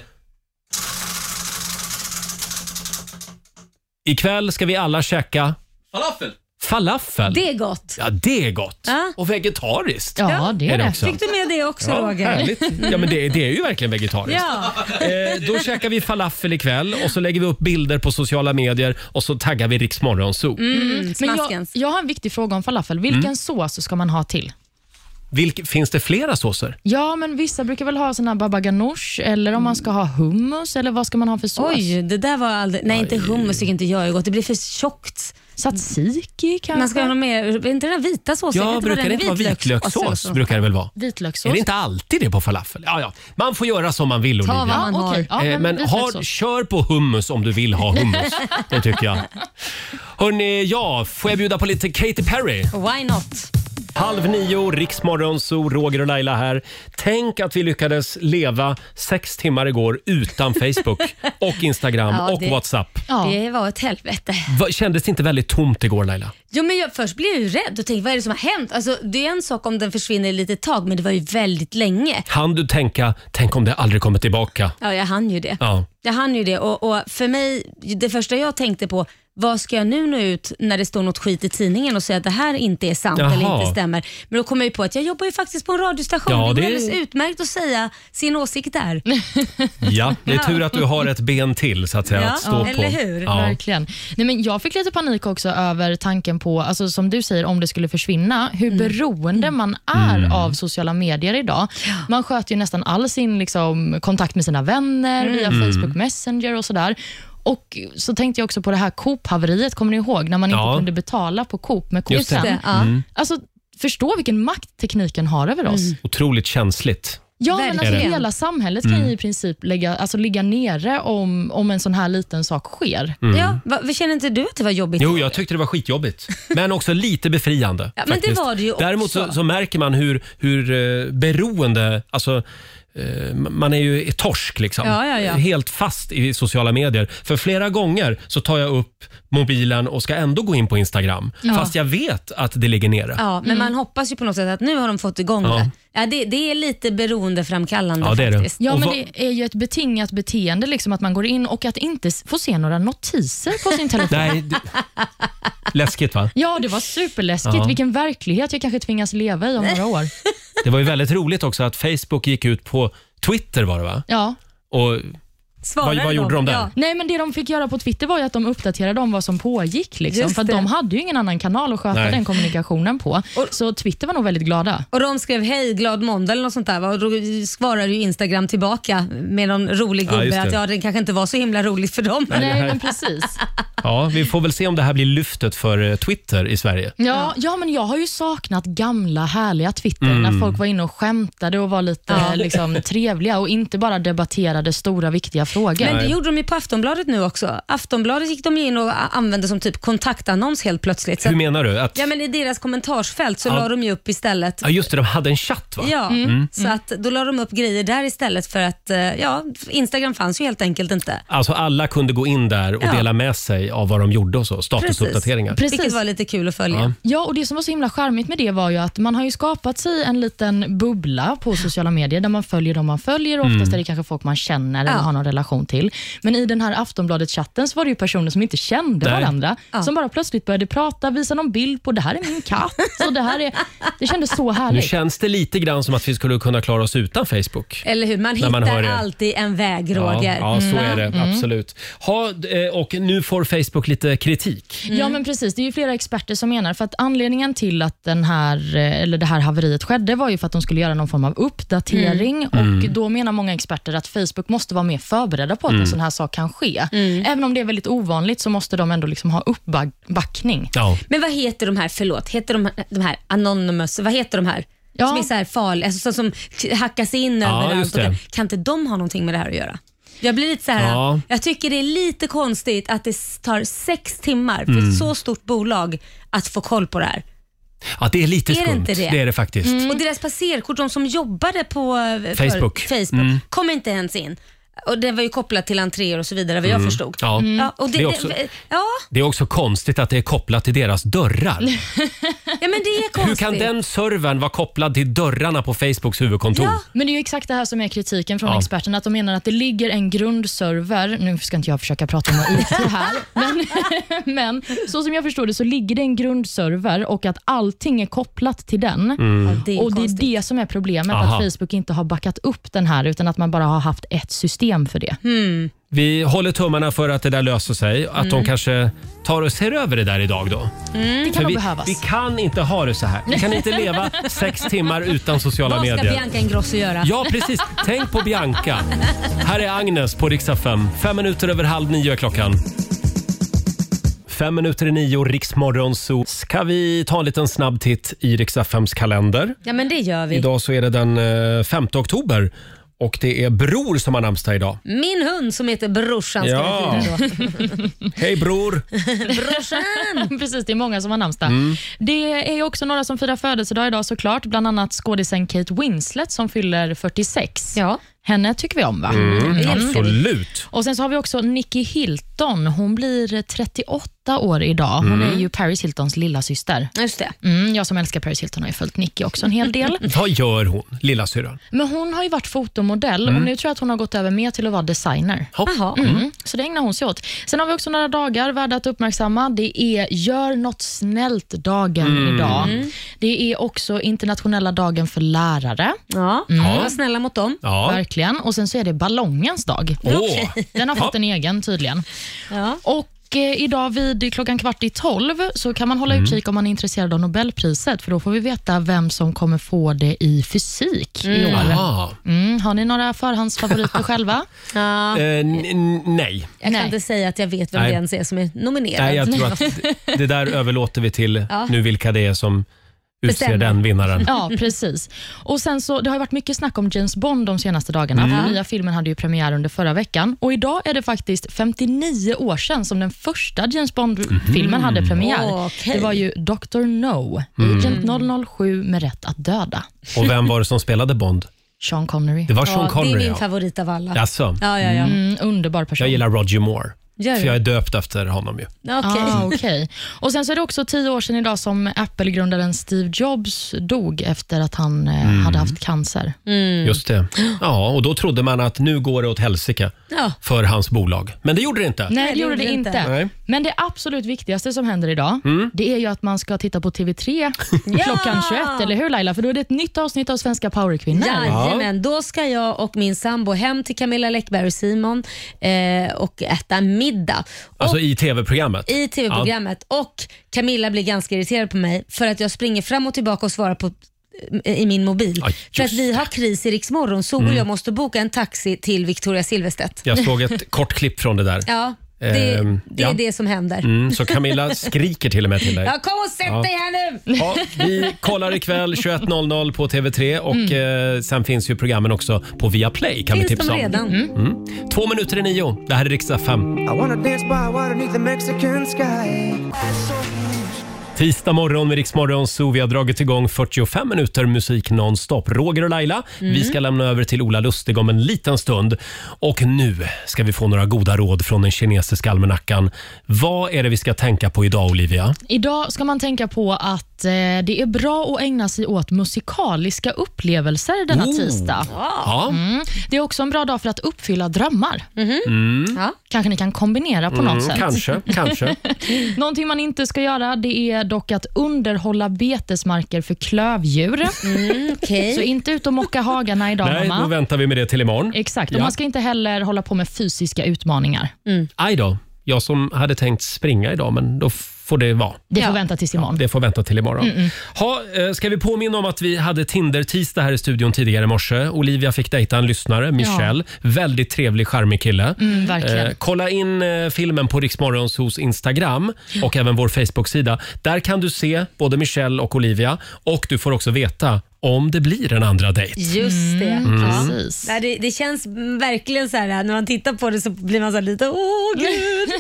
S1: Ikväll ska vi alla käka
S11: Falafel.
S1: falafel.
S3: Det är gott.
S1: Ja, det är gott.
S3: Ja.
S1: Och vegetariskt.
S3: Ja,
S1: är det också.
S3: Fick du med det också
S1: Ja,
S3: Roger?
S1: härligt. Ja, men det, det är ju verkligen vegetariskt.
S3: Ja.
S1: Eh, då käkar vi falafel ikväll och så lägger vi upp bilder på sociala medier och så taggar vi Rix Morgonzoo.
S3: Mm,
S4: men jag, jag har en viktig fråga om falafel. Vilken
S1: Mm.
S4: sås ska man ha till?
S1: Vilk, finns det flera såser?
S4: Ja, men vissa brukar väl ha sån här baba ganoush eller om man ska ha hummus eller vad ska man ha för sås?
S3: Oj, det där var aldrig... Nej, inte hummus tycker inte jag är gott. Det blir för tjockt.
S4: Tzatziki kanske?
S3: Man ska ha något mer... Är inte den där vita såsen?
S1: Ja, brukar det inte vara vitlökssås? Brukar det väl vara?
S4: Vitlökssås.
S1: Är det inte alltid det på falafel? Ja, ja. Man får göra som man vill
S4: Ta
S1: Olivia.
S4: vad man Ja, har. okej. Ja,
S1: Eh,
S4: men
S1: men har,
S4: vitlökssås.
S1: kör på hummus om du vill ha hummus. Det tycker jag. Hörni, ja, får jag bjuda på lite Katy Perry?
S3: Why not?
S1: Halv nio, Riksmorgon, så Roger och Laila här. Tänk att vi lyckades leva sex timmar igår utan Facebook och Instagram
S3: Ja,
S1: och
S3: det-
S1: WhatsApp.
S3: Det var ett helvete.
S1: Va, kändes det inte väldigt tomt igår Laila?
S3: Jo, men jag, först blev jag ju rädd och tänkte, vad är det som har hänt? Alltså, det är en sak om den försvinner ett litet tag, men det var ju väldigt länge.
S1: Hann du tänka, tänk om det aldrig kommer tillbaka?
S3: Ja, jag hann ju det.
S1: Ja.
S3: Jag hann ju det och, och för mig, det första jag tänkte på, vad ska jag nu nå ut när det står något skit i tidningen och säga att det här inte är sant
S1: Jaha.
S3: eller inte stämmer? Men då kom jag ju på att jag jobbar ju faktiskt på en radiostation.
S1: Ja,
S3: det går
S1: det är-
S3: alldeles utmärkt att säga sin åsikt där.
S1: Ja, det är
S4: Ja.
S1: tur att du har ett ben till så att säga. att stå på. Ja.
S4: Verkligen. Nej, men jag fick lite panik också över tanken på, alltså, som du säger, om det skulle försvinna, hur beroende man är
S1: Mm.
S4: av sociala medier idag. Man sköter ju nästan all sin liksom, kontakt med sina vänner
S7: Mm.
S4: via
S7: Mm.
S4: Facebook Messenger och sådär. Och så tänkte jag också på det här Coop-haveriet, kommer ni ihåg? När man inte
S1: Ja.
S4: kunde betala på Coop med
S1: Just det.
S4: korten.
S1: Ja. Mm.
S4: Alltså, förstå vilken makt tekniken har över oss.
S1: Otroligt känsligt.
S4: Ja, men
S1: Är
S4: alltså,
S1: det?
S4: hela samhället kan
S1: Mm.
S4: ju i princip lägga, alltså, ligga nere om, om en sån här liten sak sker.
S1: Mm.
S3: Ja, va, va- känner inte du att det var jobbigt?
S1: Jo, jag tyckte det var skitjobbigt. Men också lite befriande.
S3: Ja, men det
S1: faktiskt.
S3: var det ju
S1: Däremot så,
S3: också.
S1: så märker man hur, hur eh, beroende, alltså eh, man är ju i torsk liksom.
S3: Ja, ja, ja.
S1: Helt fast i sociala medier. För flera gånger så tar jag upp mobilen och ska ändå gå in på Instagram.
S3: Ja.
S1: Fast jag vet att det ligger nere.
S3: Ja, men man hoppas ju på något sätt att nu har de fått igång
S1: Mm. Ja.
S3: det. Ja, det. Det är lite beroendeframkallande
S1: Ja, det är det.
S3: faktiskt.
S4: Ja,
S1: Och
S4: men
S1: vad-
S4: det är ju ett betingat beteende, liksom att man går in och att inte s- få se några notiser på
S1: *laughs*
S4: sin telefon.
S1: Nej, det... Läskigt va?
S4: Ja, det var superläskigt.
S1: Ja.
S4: Vilken verklighet jag kanske tvingas leva i om några år.
S1: Det var ju väldigt roligt också att Facebook gick ut på Twitter var det va?
S4: Ja.
S1: Och Vad- vad gjorde de där? Ja.
S4: Nej, men det de fick göra på Twitter var ju att de uppdaterade om vad som pågick. Liksom,
S3: Just
S4: för att
S3: det.
S4: de hade ju ingen annan kanal att sköta
S1: Nej.
S4: den kommunikationen på. Så Twitter var nog väldigt glada.
S3: Och de skrev hej, glad måndag eller något sånt där va? och då svarade ju Instagram tillbaka med någon rolig
S1: Ja,
S3: gubbe
S1: just det.
S3: att ja, det kanske inte var så himla roligt för dem.
S1: Nej, det här- Nej, men
S4: precis.
S1: ja, vi får väl se om det här blir lyftet för eh, Twitter i Sverige.
S4: Ja, ja, men jag har ju saknat gamla härliga Twitter
S1: Mm.
S4: när folk var inne och skämtade och var lite
S3: Ja.
S4: liksom, trevliga och inte bara debatterade stora viktiga frågor.
S3: Men det gjorde de ju på Aftonbladet nu också. Aftonbladet gick de ju in och a- använde som typ kontaktannons helt plötsligt. Så
S1: Hur
S3: att-
S1: menar du? Att,
S3: Ja, men i deras kommentarsfält så
S1: Ja.
S3: la de ju upp istället.
S1: ja, just det, de hade en chatt va?
S3: Ja,
S1: Mm.
S3: så att då la de upp grejer där istället för att eh, ja, Instagram fanns ju helt enkelt inte.
S1: Alltså alla kunde gå in där och
S3: Ja.
S1: dela med sig av vad de gjorde och så, statusuppdateringar.
S3: Vilket var lite kul att följa.
S1: Ja.
S4: Ja, och det som var så himla charmigt med det var ju att man har ju skapat sig en liten bubbla på sociala medier där man följer de man följer och oftast
S7: Mm.
S4: är det kanske folk man känner eller
S7: Ja.
S4: har någon relation till. Men i den här Aftonbladet-chatten så var det ju personer som inte kände
S7: Nej.
S4: varandra
S7: Ja.
S4: som bara plötsligt började prata, visa någon bild på det här är min katt och det här är... Det kändes så
S1: Nu
S4: härligt.
S1: känns det lite grann som att vi skulle kunna klara oss utan Facebook.
S3: Eller hur? Man
S1: När man hör
S3: hittar
S1: er.
S3: alltid en väg, Eh, Roger.
S1: Ja, ja, så är det.
S4: Mm.
S1: Absolut. Ha, eh, och nu får Facebook lite kritik.
S4: Ja, men precis. Det är ju flera experter som menar för att anledningen till att den här, eh, eller det här haveriet skedde var ju för att de skulle göra någon form av uppdatering
S7: Mm.
S4: och
S7: Mm.
S4: då menar många experter att Facebook måste vara mer förberedda på att
S1: Mm.
S4: en sån här sak kan ske. Även om det är väldigt ovanligt så måste de ändå liksom ha uppbackning.
S1: Ja.
S3: Men vad heter de här, förlåt, heter de, de här anonymous, vad heter de här? Som är så här farliga, alltså, som, som hackas in
S4: Ja,
S3: överallt.
S4: just
S3: Och
S4: det.
S3: kan, kan inte de ha någonting med det här att göra? Jag blir lite så här,
S1: Ja.
S3: jag tycker det är lite konstigt att det tar sex timmar för
S1: Mm.
S3: ett så stort bolag att få koll på det här.
S1: Ja, det är lite skumt.
S3: är det inte det? Mm.
S1: är det faktiskt.
S3: Och deras passerkort, de som jobbade på eh, för-
S1: Mm. Facebook.
S3: Facebook
S1: Mm.
S3: kom inte ens in. Och Det var ju kopplat till entréer och så vidare, vad jag
S1: Mm.
S3: förstod.
S1: Ja.
S3: och det,
S1: Det
S3: det
S1: är också-
S3: ja.
S1: Det är också konstigt att det är kopplat till deras
S3: *laughs*
S1: dörrar.
S3: ja, men det är
S1: Hur
S3: konstigt.
S1: kan den servern vara kopplad till dörrarna på Facebooks huvudkontor?
S4: Men det är ju exakt det här som är kritiken från
S1: Ja.
S4: experterna, att de menar att det ligger en grundserver, nu ska inte jag försöka prata om vad IT *laughs* här, men, men så som jag förstår det så ligger det en grundserver och att allting är kopplat till den.
S2: Mm. Ja, det är
S4: och det är det som är problemet,
S1: Aha.
S4: att Facebook inte har backat upp den här, utan att man bara har haft ett system för det.
S1: Vi håller tummarna för att det där löser sig. Att de
S4: Mm.
S1: kanske tar och ser över det där idag då.
S4: Det
S1: För
S4: kan nog
S1: vi,
S4: behövas.
S1: vi kan inte ha det så här. Vi kan inte
S3: *laughs*
S1: leva sex timmar utan sociala
S3: Vad ska
S1: medier.
S3: Bianca Ingrosso göra?
S1: Ja, precis. Tänk på Bianca. Här är Agnes på riksdag 5. Fem minuter över halv nio är klockan. Fem minuter i nio, Riksmorgon, så ska vi ta en liten snabb titt i riksdag 5s kalender.
S3: Ja, men det gör vi.
S1: Idag så är det den eh, 5 oktober och det är Bror som har namnsdag idag.
S3: Min hund som heter Brorsan ska
S1: Ja.
S3: vi fira
S4: Mm.
S3: då.
S1: Hej Bror!
S4: Brorsan! *laughs* Precis, det är många som har namnsdag.
S1: Mm.
S4: Det är ju också några som firar födelsedag idag såklart, bland annat skådisen Kate Winslet som fyller 46. Ja. Henne tycker vi om va?
S1: Mm,
S4: Mm.
S1: absolut.
S4: Och Sen så har vi också Nicky Hilton. Hon blir 38 år idag. Hon
S1: Mm.
S4: är ju Paris Hiltons lilla syster.
S3: Just det.
S4: Mm, jag som älskar Paris Hilton har ju följt Nicky också en hel *laughs* del.
S1: Vad gör hon, lilla syrran?
S4: Men hon har ju varit fotomodell
S1: Mm.
S4: och nu tror jag att hon har gått över mer till att vara designer. Mm. Så det ägnar hon sig åt. Sen har vi också några dagar värda att uppmärksamma. Det är Gör något snällt-dagen
S2: Mm.
S4: idag.
S2: Mm.
S4: Det är också internationella dagen för lärare.
S3: Ja,
S1: Mm.
S2: Ja.
S4: var
S3: snälla mot dem.
S2: Ja.
S4: Verkligen. Och sen så är det ballongens dag.
S2: Åh.
S4: Den har fått en egen tydligen. Och eh, Idag vid klockan kvart i tolv så kan man hålla
S2: Mm.
S4: utkik om man är intresserad av Nobelpriset, för då får vi veta vem som kommer få det i fysik i
S1: Mm.
S4: år.
S1: Aha.
S4: Mm, har ni några förhandsfavoriter själva?
S3: Ja.
S1: Eh, n- n- nej.
S3: Jag kan inte säga att jag vet vem
S1: Nej.
S3: det ens är som är nominerad.
S1: nej, jag tror att det där överlåter vi till
S4: Ja.
S1: nu vilka det är som utser
S4: Bestämmer.
S1: den vinnaren.
S4: Ja, precis. Och sen så, Det har ju varit mycket snack om James Bond de senaste dagarna.
S1: Mm.
S4: Den nya filmen hade ju premiär under förra veckan. Och Idag är det faktiskt 59 år sedan som den första James Bond-filmen
S2: Mhm.
S4: hade premiär.
S2: Okej.
S4: Det var ju Dr. No,
S1: Mm.
S4: Agent 007 med rätt att döda.
S1: Och vem var det som spelade Bond?
S4: Sean Connery.
S1: Det var Sean Connery,
S3: Det är min
S1: ja.
S3: favorit av alla.
S1: Jaså?
S3: Ja, ja, ja.
S4: Mm, underbar person.
S1: Jag gillar Roger Moore,
S4: Gör du?
S1: för jag är döpt efter honom ju.
S3: Okej.
S4: Ah, okej. Och Sen så är det också tio år sedan idag som Apple-grundaren Steve Jobs dog efter att han eh,
S1: Mm.
S4: hade haft cancer.
S1: Just det. Ja, och då trodde man att nu går det åt helsike
S4: Ja.
S1: för hans bolag. Men det gjorde det inte.
S4: Nej, det gjorde det inte.
S1: Nej.
S4: Men det absolut viktigaste som händer idag,
S1: Mm.
S4: det är ju att man ska titta på *laughs* TV3 klockan 21, eller hur Laila? För då är det ett nytt avsnitt av Svenska powerkvinnor.
S3: Jajamän, då ska jag och min sambo hem till Camilla Läckberg och Simon eh, och äta middag.
S1: Alltså i tv-programmet.
S3: I tv-programmet. Och Camilla blir ganska irriterad på mig för att jag springer fram och tillbaka och svarar på eh, i min mobil.
S1: Ja,
S3: för att
S1: just
S3: vi har kris i Rix Morgon, så
S1: Mm.
S3: och jag måste boka en taxi till Victoria Silvstedt.
S1: Ja. Jag såg ett kort klipp från det där.
S3: ja, det,
S1: Ehm,
S3: det är
S1: ja.
S3: det som händer.
S1: Mm, så Camilla skriker till och med till dig.
S3: Ja, kom och sätt
S1: Ja.
S3: dig här nu!
S1: Ja, vi kollar ikväll 21.00 på TV3 och eh, sen finns ju programmen också på Viaplay kan
S2: Mm. Finns
S1: vi tipsa
S2: de redan?
S1: om.
S2: Mm.
S1: Mm. Två minuter i nio. Det här är riksdag 5.
S2: I wanna dance by water beneath the Mexican sky.
S1: Tisdag morgon med Riksmorgon så vi har dragit igång 45 minuter musik nonstop. Roger och Laila,
S2: Mm.
S1: vi ska lämna över till Ola Lustig om en liten stund. Och nu ska vi få några goda råd från den kinesiska almanackan. Vad är det vi ska tänka på idag Olivia?
S4: Idag ska man tänka på att eh, det är bra att ägna sig åt musikaliska upplevelser denna
S2: Oh.
S4: tisdag.
S2: Ja.
S4: Mm. Det är också en bra dag för att uppfylla drömmar.
S2: Mm.
S4: Kanske ni kan kombinera på
S2: Mm,
S4: något sätt.
S2: kanske, *laughs* kanske.
S4: Någonting man inte ska göra det är dock att underhålla betesmarker för klövdjur.
S3: okej.
S4: Så inte ut och mocka hagarna idag,
S1: Nej, då
S4: mamma.
S1: väntar vi med det till imorgon.
S4: Exakt, och
S1: Ja.
S4: man ska inte heller hålla på med fysiska utmaningar.
S1: Aj då, jag som hade tänkt springa idag men då får det vara.
S4: Det får vänta tills imorgon.
S1: Det får vänta till imorgon.
S4: Mm-mm.
S1: Ha, eh, ska vi påminna om att vi hade Tinder-tisdag här i studion tidigare i morse. Olivia fick dejta en lyssnare, Michelle. Väldigt trevlig, charmig kille.
S4: Mm, verkligen.
S1: kolla in eh, filmen på Riksmorgons hos Instagram och även vår Facebook-sida. Där kan du se både Michelle och Olivia och du får också veta om det blir en andra dejt.
S3: Just det.
S1: Mm.
S3: Ja.
S1: Precis.
S3: Nej, det. Det känns verkligen så här, när man tittar på det så blir man så här lite, åh gud.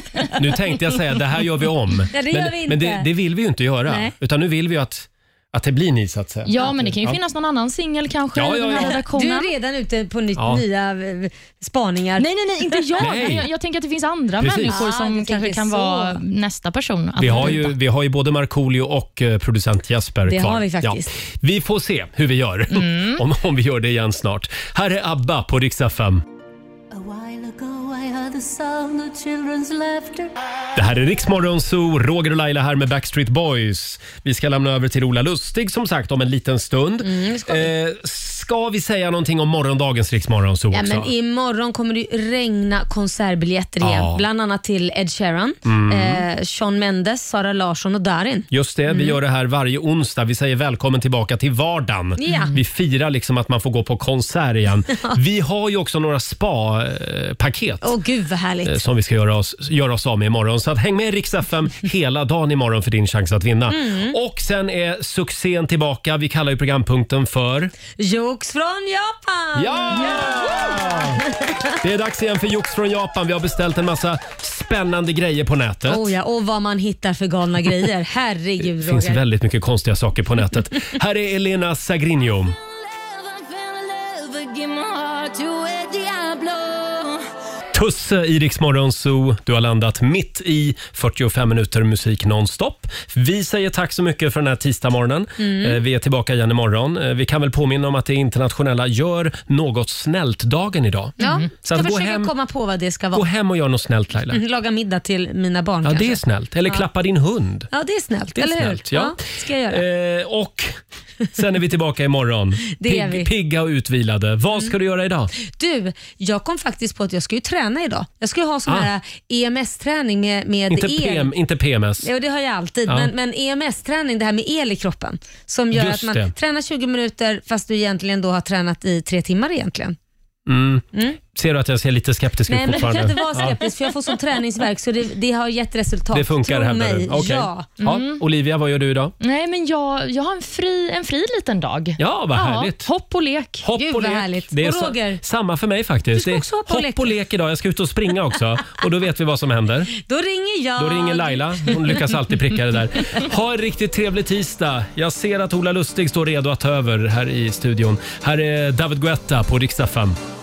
S1: Nu tänkte jag säga det här gör vi om.
S3: Ja, det
S1: men
S3: gör vi inte.
S1: men det, det vill vi ju inte göra.
S4: Nej.
S1: Utan nu vill vi ju att, att det blir ni så att säga.
S4: Ja, men det kan ju
S1: Ja.
S4: finnas någon annan singel kanske
S1: Ja,
S4: i
S1: ja,
S4: den här
S1: ja.
S4: redaktionen.
S3: Du är redan ute på nytt,
S1: Ja.
S3: nya eh, spaningar.
S4: Nej, nej, nej, inte jag.
S1: Nej.
S4: Men jag, jag tänker att det finns andra
S1: Precis.
S4: människor
S3: Ah, du
S4: som kanske
S3: tänker
S4: kan
S3: så.
S4: vara nästa person. att
S1: Vi har,
S4: dejta.
S1: ju, vi har ju både Markoolio och eh, producent Jesper
S4: Det
S1: kvar.
S4: har vi faktiskt.
S1: Vi får se hur vi gör, *laughs* om, om vi gör det igen snart. Här är ABBA på Rix FM.
S3: *laughs*
S1: Det här är Riksmorgon Zoo, Roger och Laila här med Backstreet Boys. Vi ska lämna över till Ola Lustig som sagt om en liten stund. ska, vi. Eh, ska vi säga någonting om morgondagens Riksmorgon Zoo
S3: Ja,
S1: också?
S3: men imorgon kommer det ju regna konsertbiljetter igen.
S1: Ja.
S3: Bland annat till Ed Sheeran,
S1: Mm.
S3: eh, Shawn Mendes, Sara Larsson och Darin.
S1: Just det, vi
S3: Mm.
S1: gör det här varje onsdag. Vi säger välkommen tillbaka till vardagen.
S3: Ja.
S1: Vi firar liksom att man får gå på konsert igen.
S3: *laughs* Ja.
S1: Vi har ju också några spa-paket.
S3: Åh gud vad härligt.
S1: eh, som vi ska göra oss, göra oss av med imorgon. Så att häng med i Rix
S3: *laughs*
S1: FM hela dagen imorgon för din chans att vinna.
S3: Mm.
S1: Och sen är succén tillbaka. Vi kallar ju programpunkten för...
S3: Jokes från Japan!
S1: Ja! Det är dags igen för Jox från Japan. Vi har beställt en massa spännande grejer på nätet.
S3: Oh ja, och vad man hittar för
S1: *laughs*
S3: galna grejer.
S1: Det
S3: Herregud
S1: finns
S3: Roger.
S1: väldigt mycket konstiga saker på nätet. Här är Elena Sagrinho. Tusse i Rix Morgon Zoo. Du har landat mitt i 45 minuter musik nonstop. Vi säger tack så mycket för den här tisdagsmorgonen.
S11: Mm.
S1: Eh, Vi är tillbaka igen imorgon. Eh, Vi kan väl påminna om att det är internationella Gör något snällt-dagen idag.
S3: Ja,
S1: Mm-hmm. Så
S3: ska
S1: att gå
S3: försöka
S1: hem,
S3: komma på vad det ska
S1: gå
S3: vara.
S1: hem och gör något snällt Laila.
S3: Mm, *laughs* Laga middag till mina barn
S1: Ja,
S3: kanske.
S1: det är snällt. Eller
S3: Ja.
S1: klappa din hund.
S3: Ja, det är snällt.
S1: Det är
S3: eller hur?
S1: snällt, ja.
S3: ska jag göra.
S1: Eh, och sen är vi tillbaka imorgon.
S3: *laughs* Det är vi. Mm.
S1: Pigga och utvilade. Vad ska du göra idag?
S3: Du, jag kom faktiskt på att jag ska ju träna idag. Jag ska ju ha sån
S1: Ah.
S3: här EMS-träning med, med
S1: Inte,
S3: el.
S1: PM, inte PMS.
S3: Jo, det har jag alltid,
S1: Ja.
S3: men, men EMS-träning, det här med el i kroppen, som gör
S1: Just
S3: att man
S1: det.
S3: tränar 20 minuter fast du egentligen då har tränat i tre timmar egentligen.
S1: Mm.
S3: Mm.
S1: Ser du att jag ser lite skeptisk ut
S3: Nej, men *laughs* jag
S1: fortfarande?
S3: kan inte vara
S1: Ja.
S3: skeptisk för jag får sån träningsverk så det, det har gett resultat.
S1: Det funkar
S3: Tro
S1: hävdar du?
S3: mig.
S1: Okej.
S3: Ja.
S1: Ja.
S4: Mm.
S1: Olivia, vad gör du idag?
S4: Nej, men jag, jag har en fri, en fri liten dag.
S1: Ja, vad härligt.
S4: Hopp och lek.
S1: Hopp och lek. Det är sa- samma för mig faktiskt.
S4: Du ska
S1: Det är
S4: också hoppa och
S1: hopp
S4: leka.
S1: och lek idag. Jag ska ut och springa också och då vet vi vad som händer.
S3: Då ringer jag.
S1: Då ringer Laila. Hon lyckas alltid pricka det där. Ha en riktigt trevlig tisdag. Jag ser att Ola Lustig står redo att ta över här i studion. Här är David Guetta på Rix FM.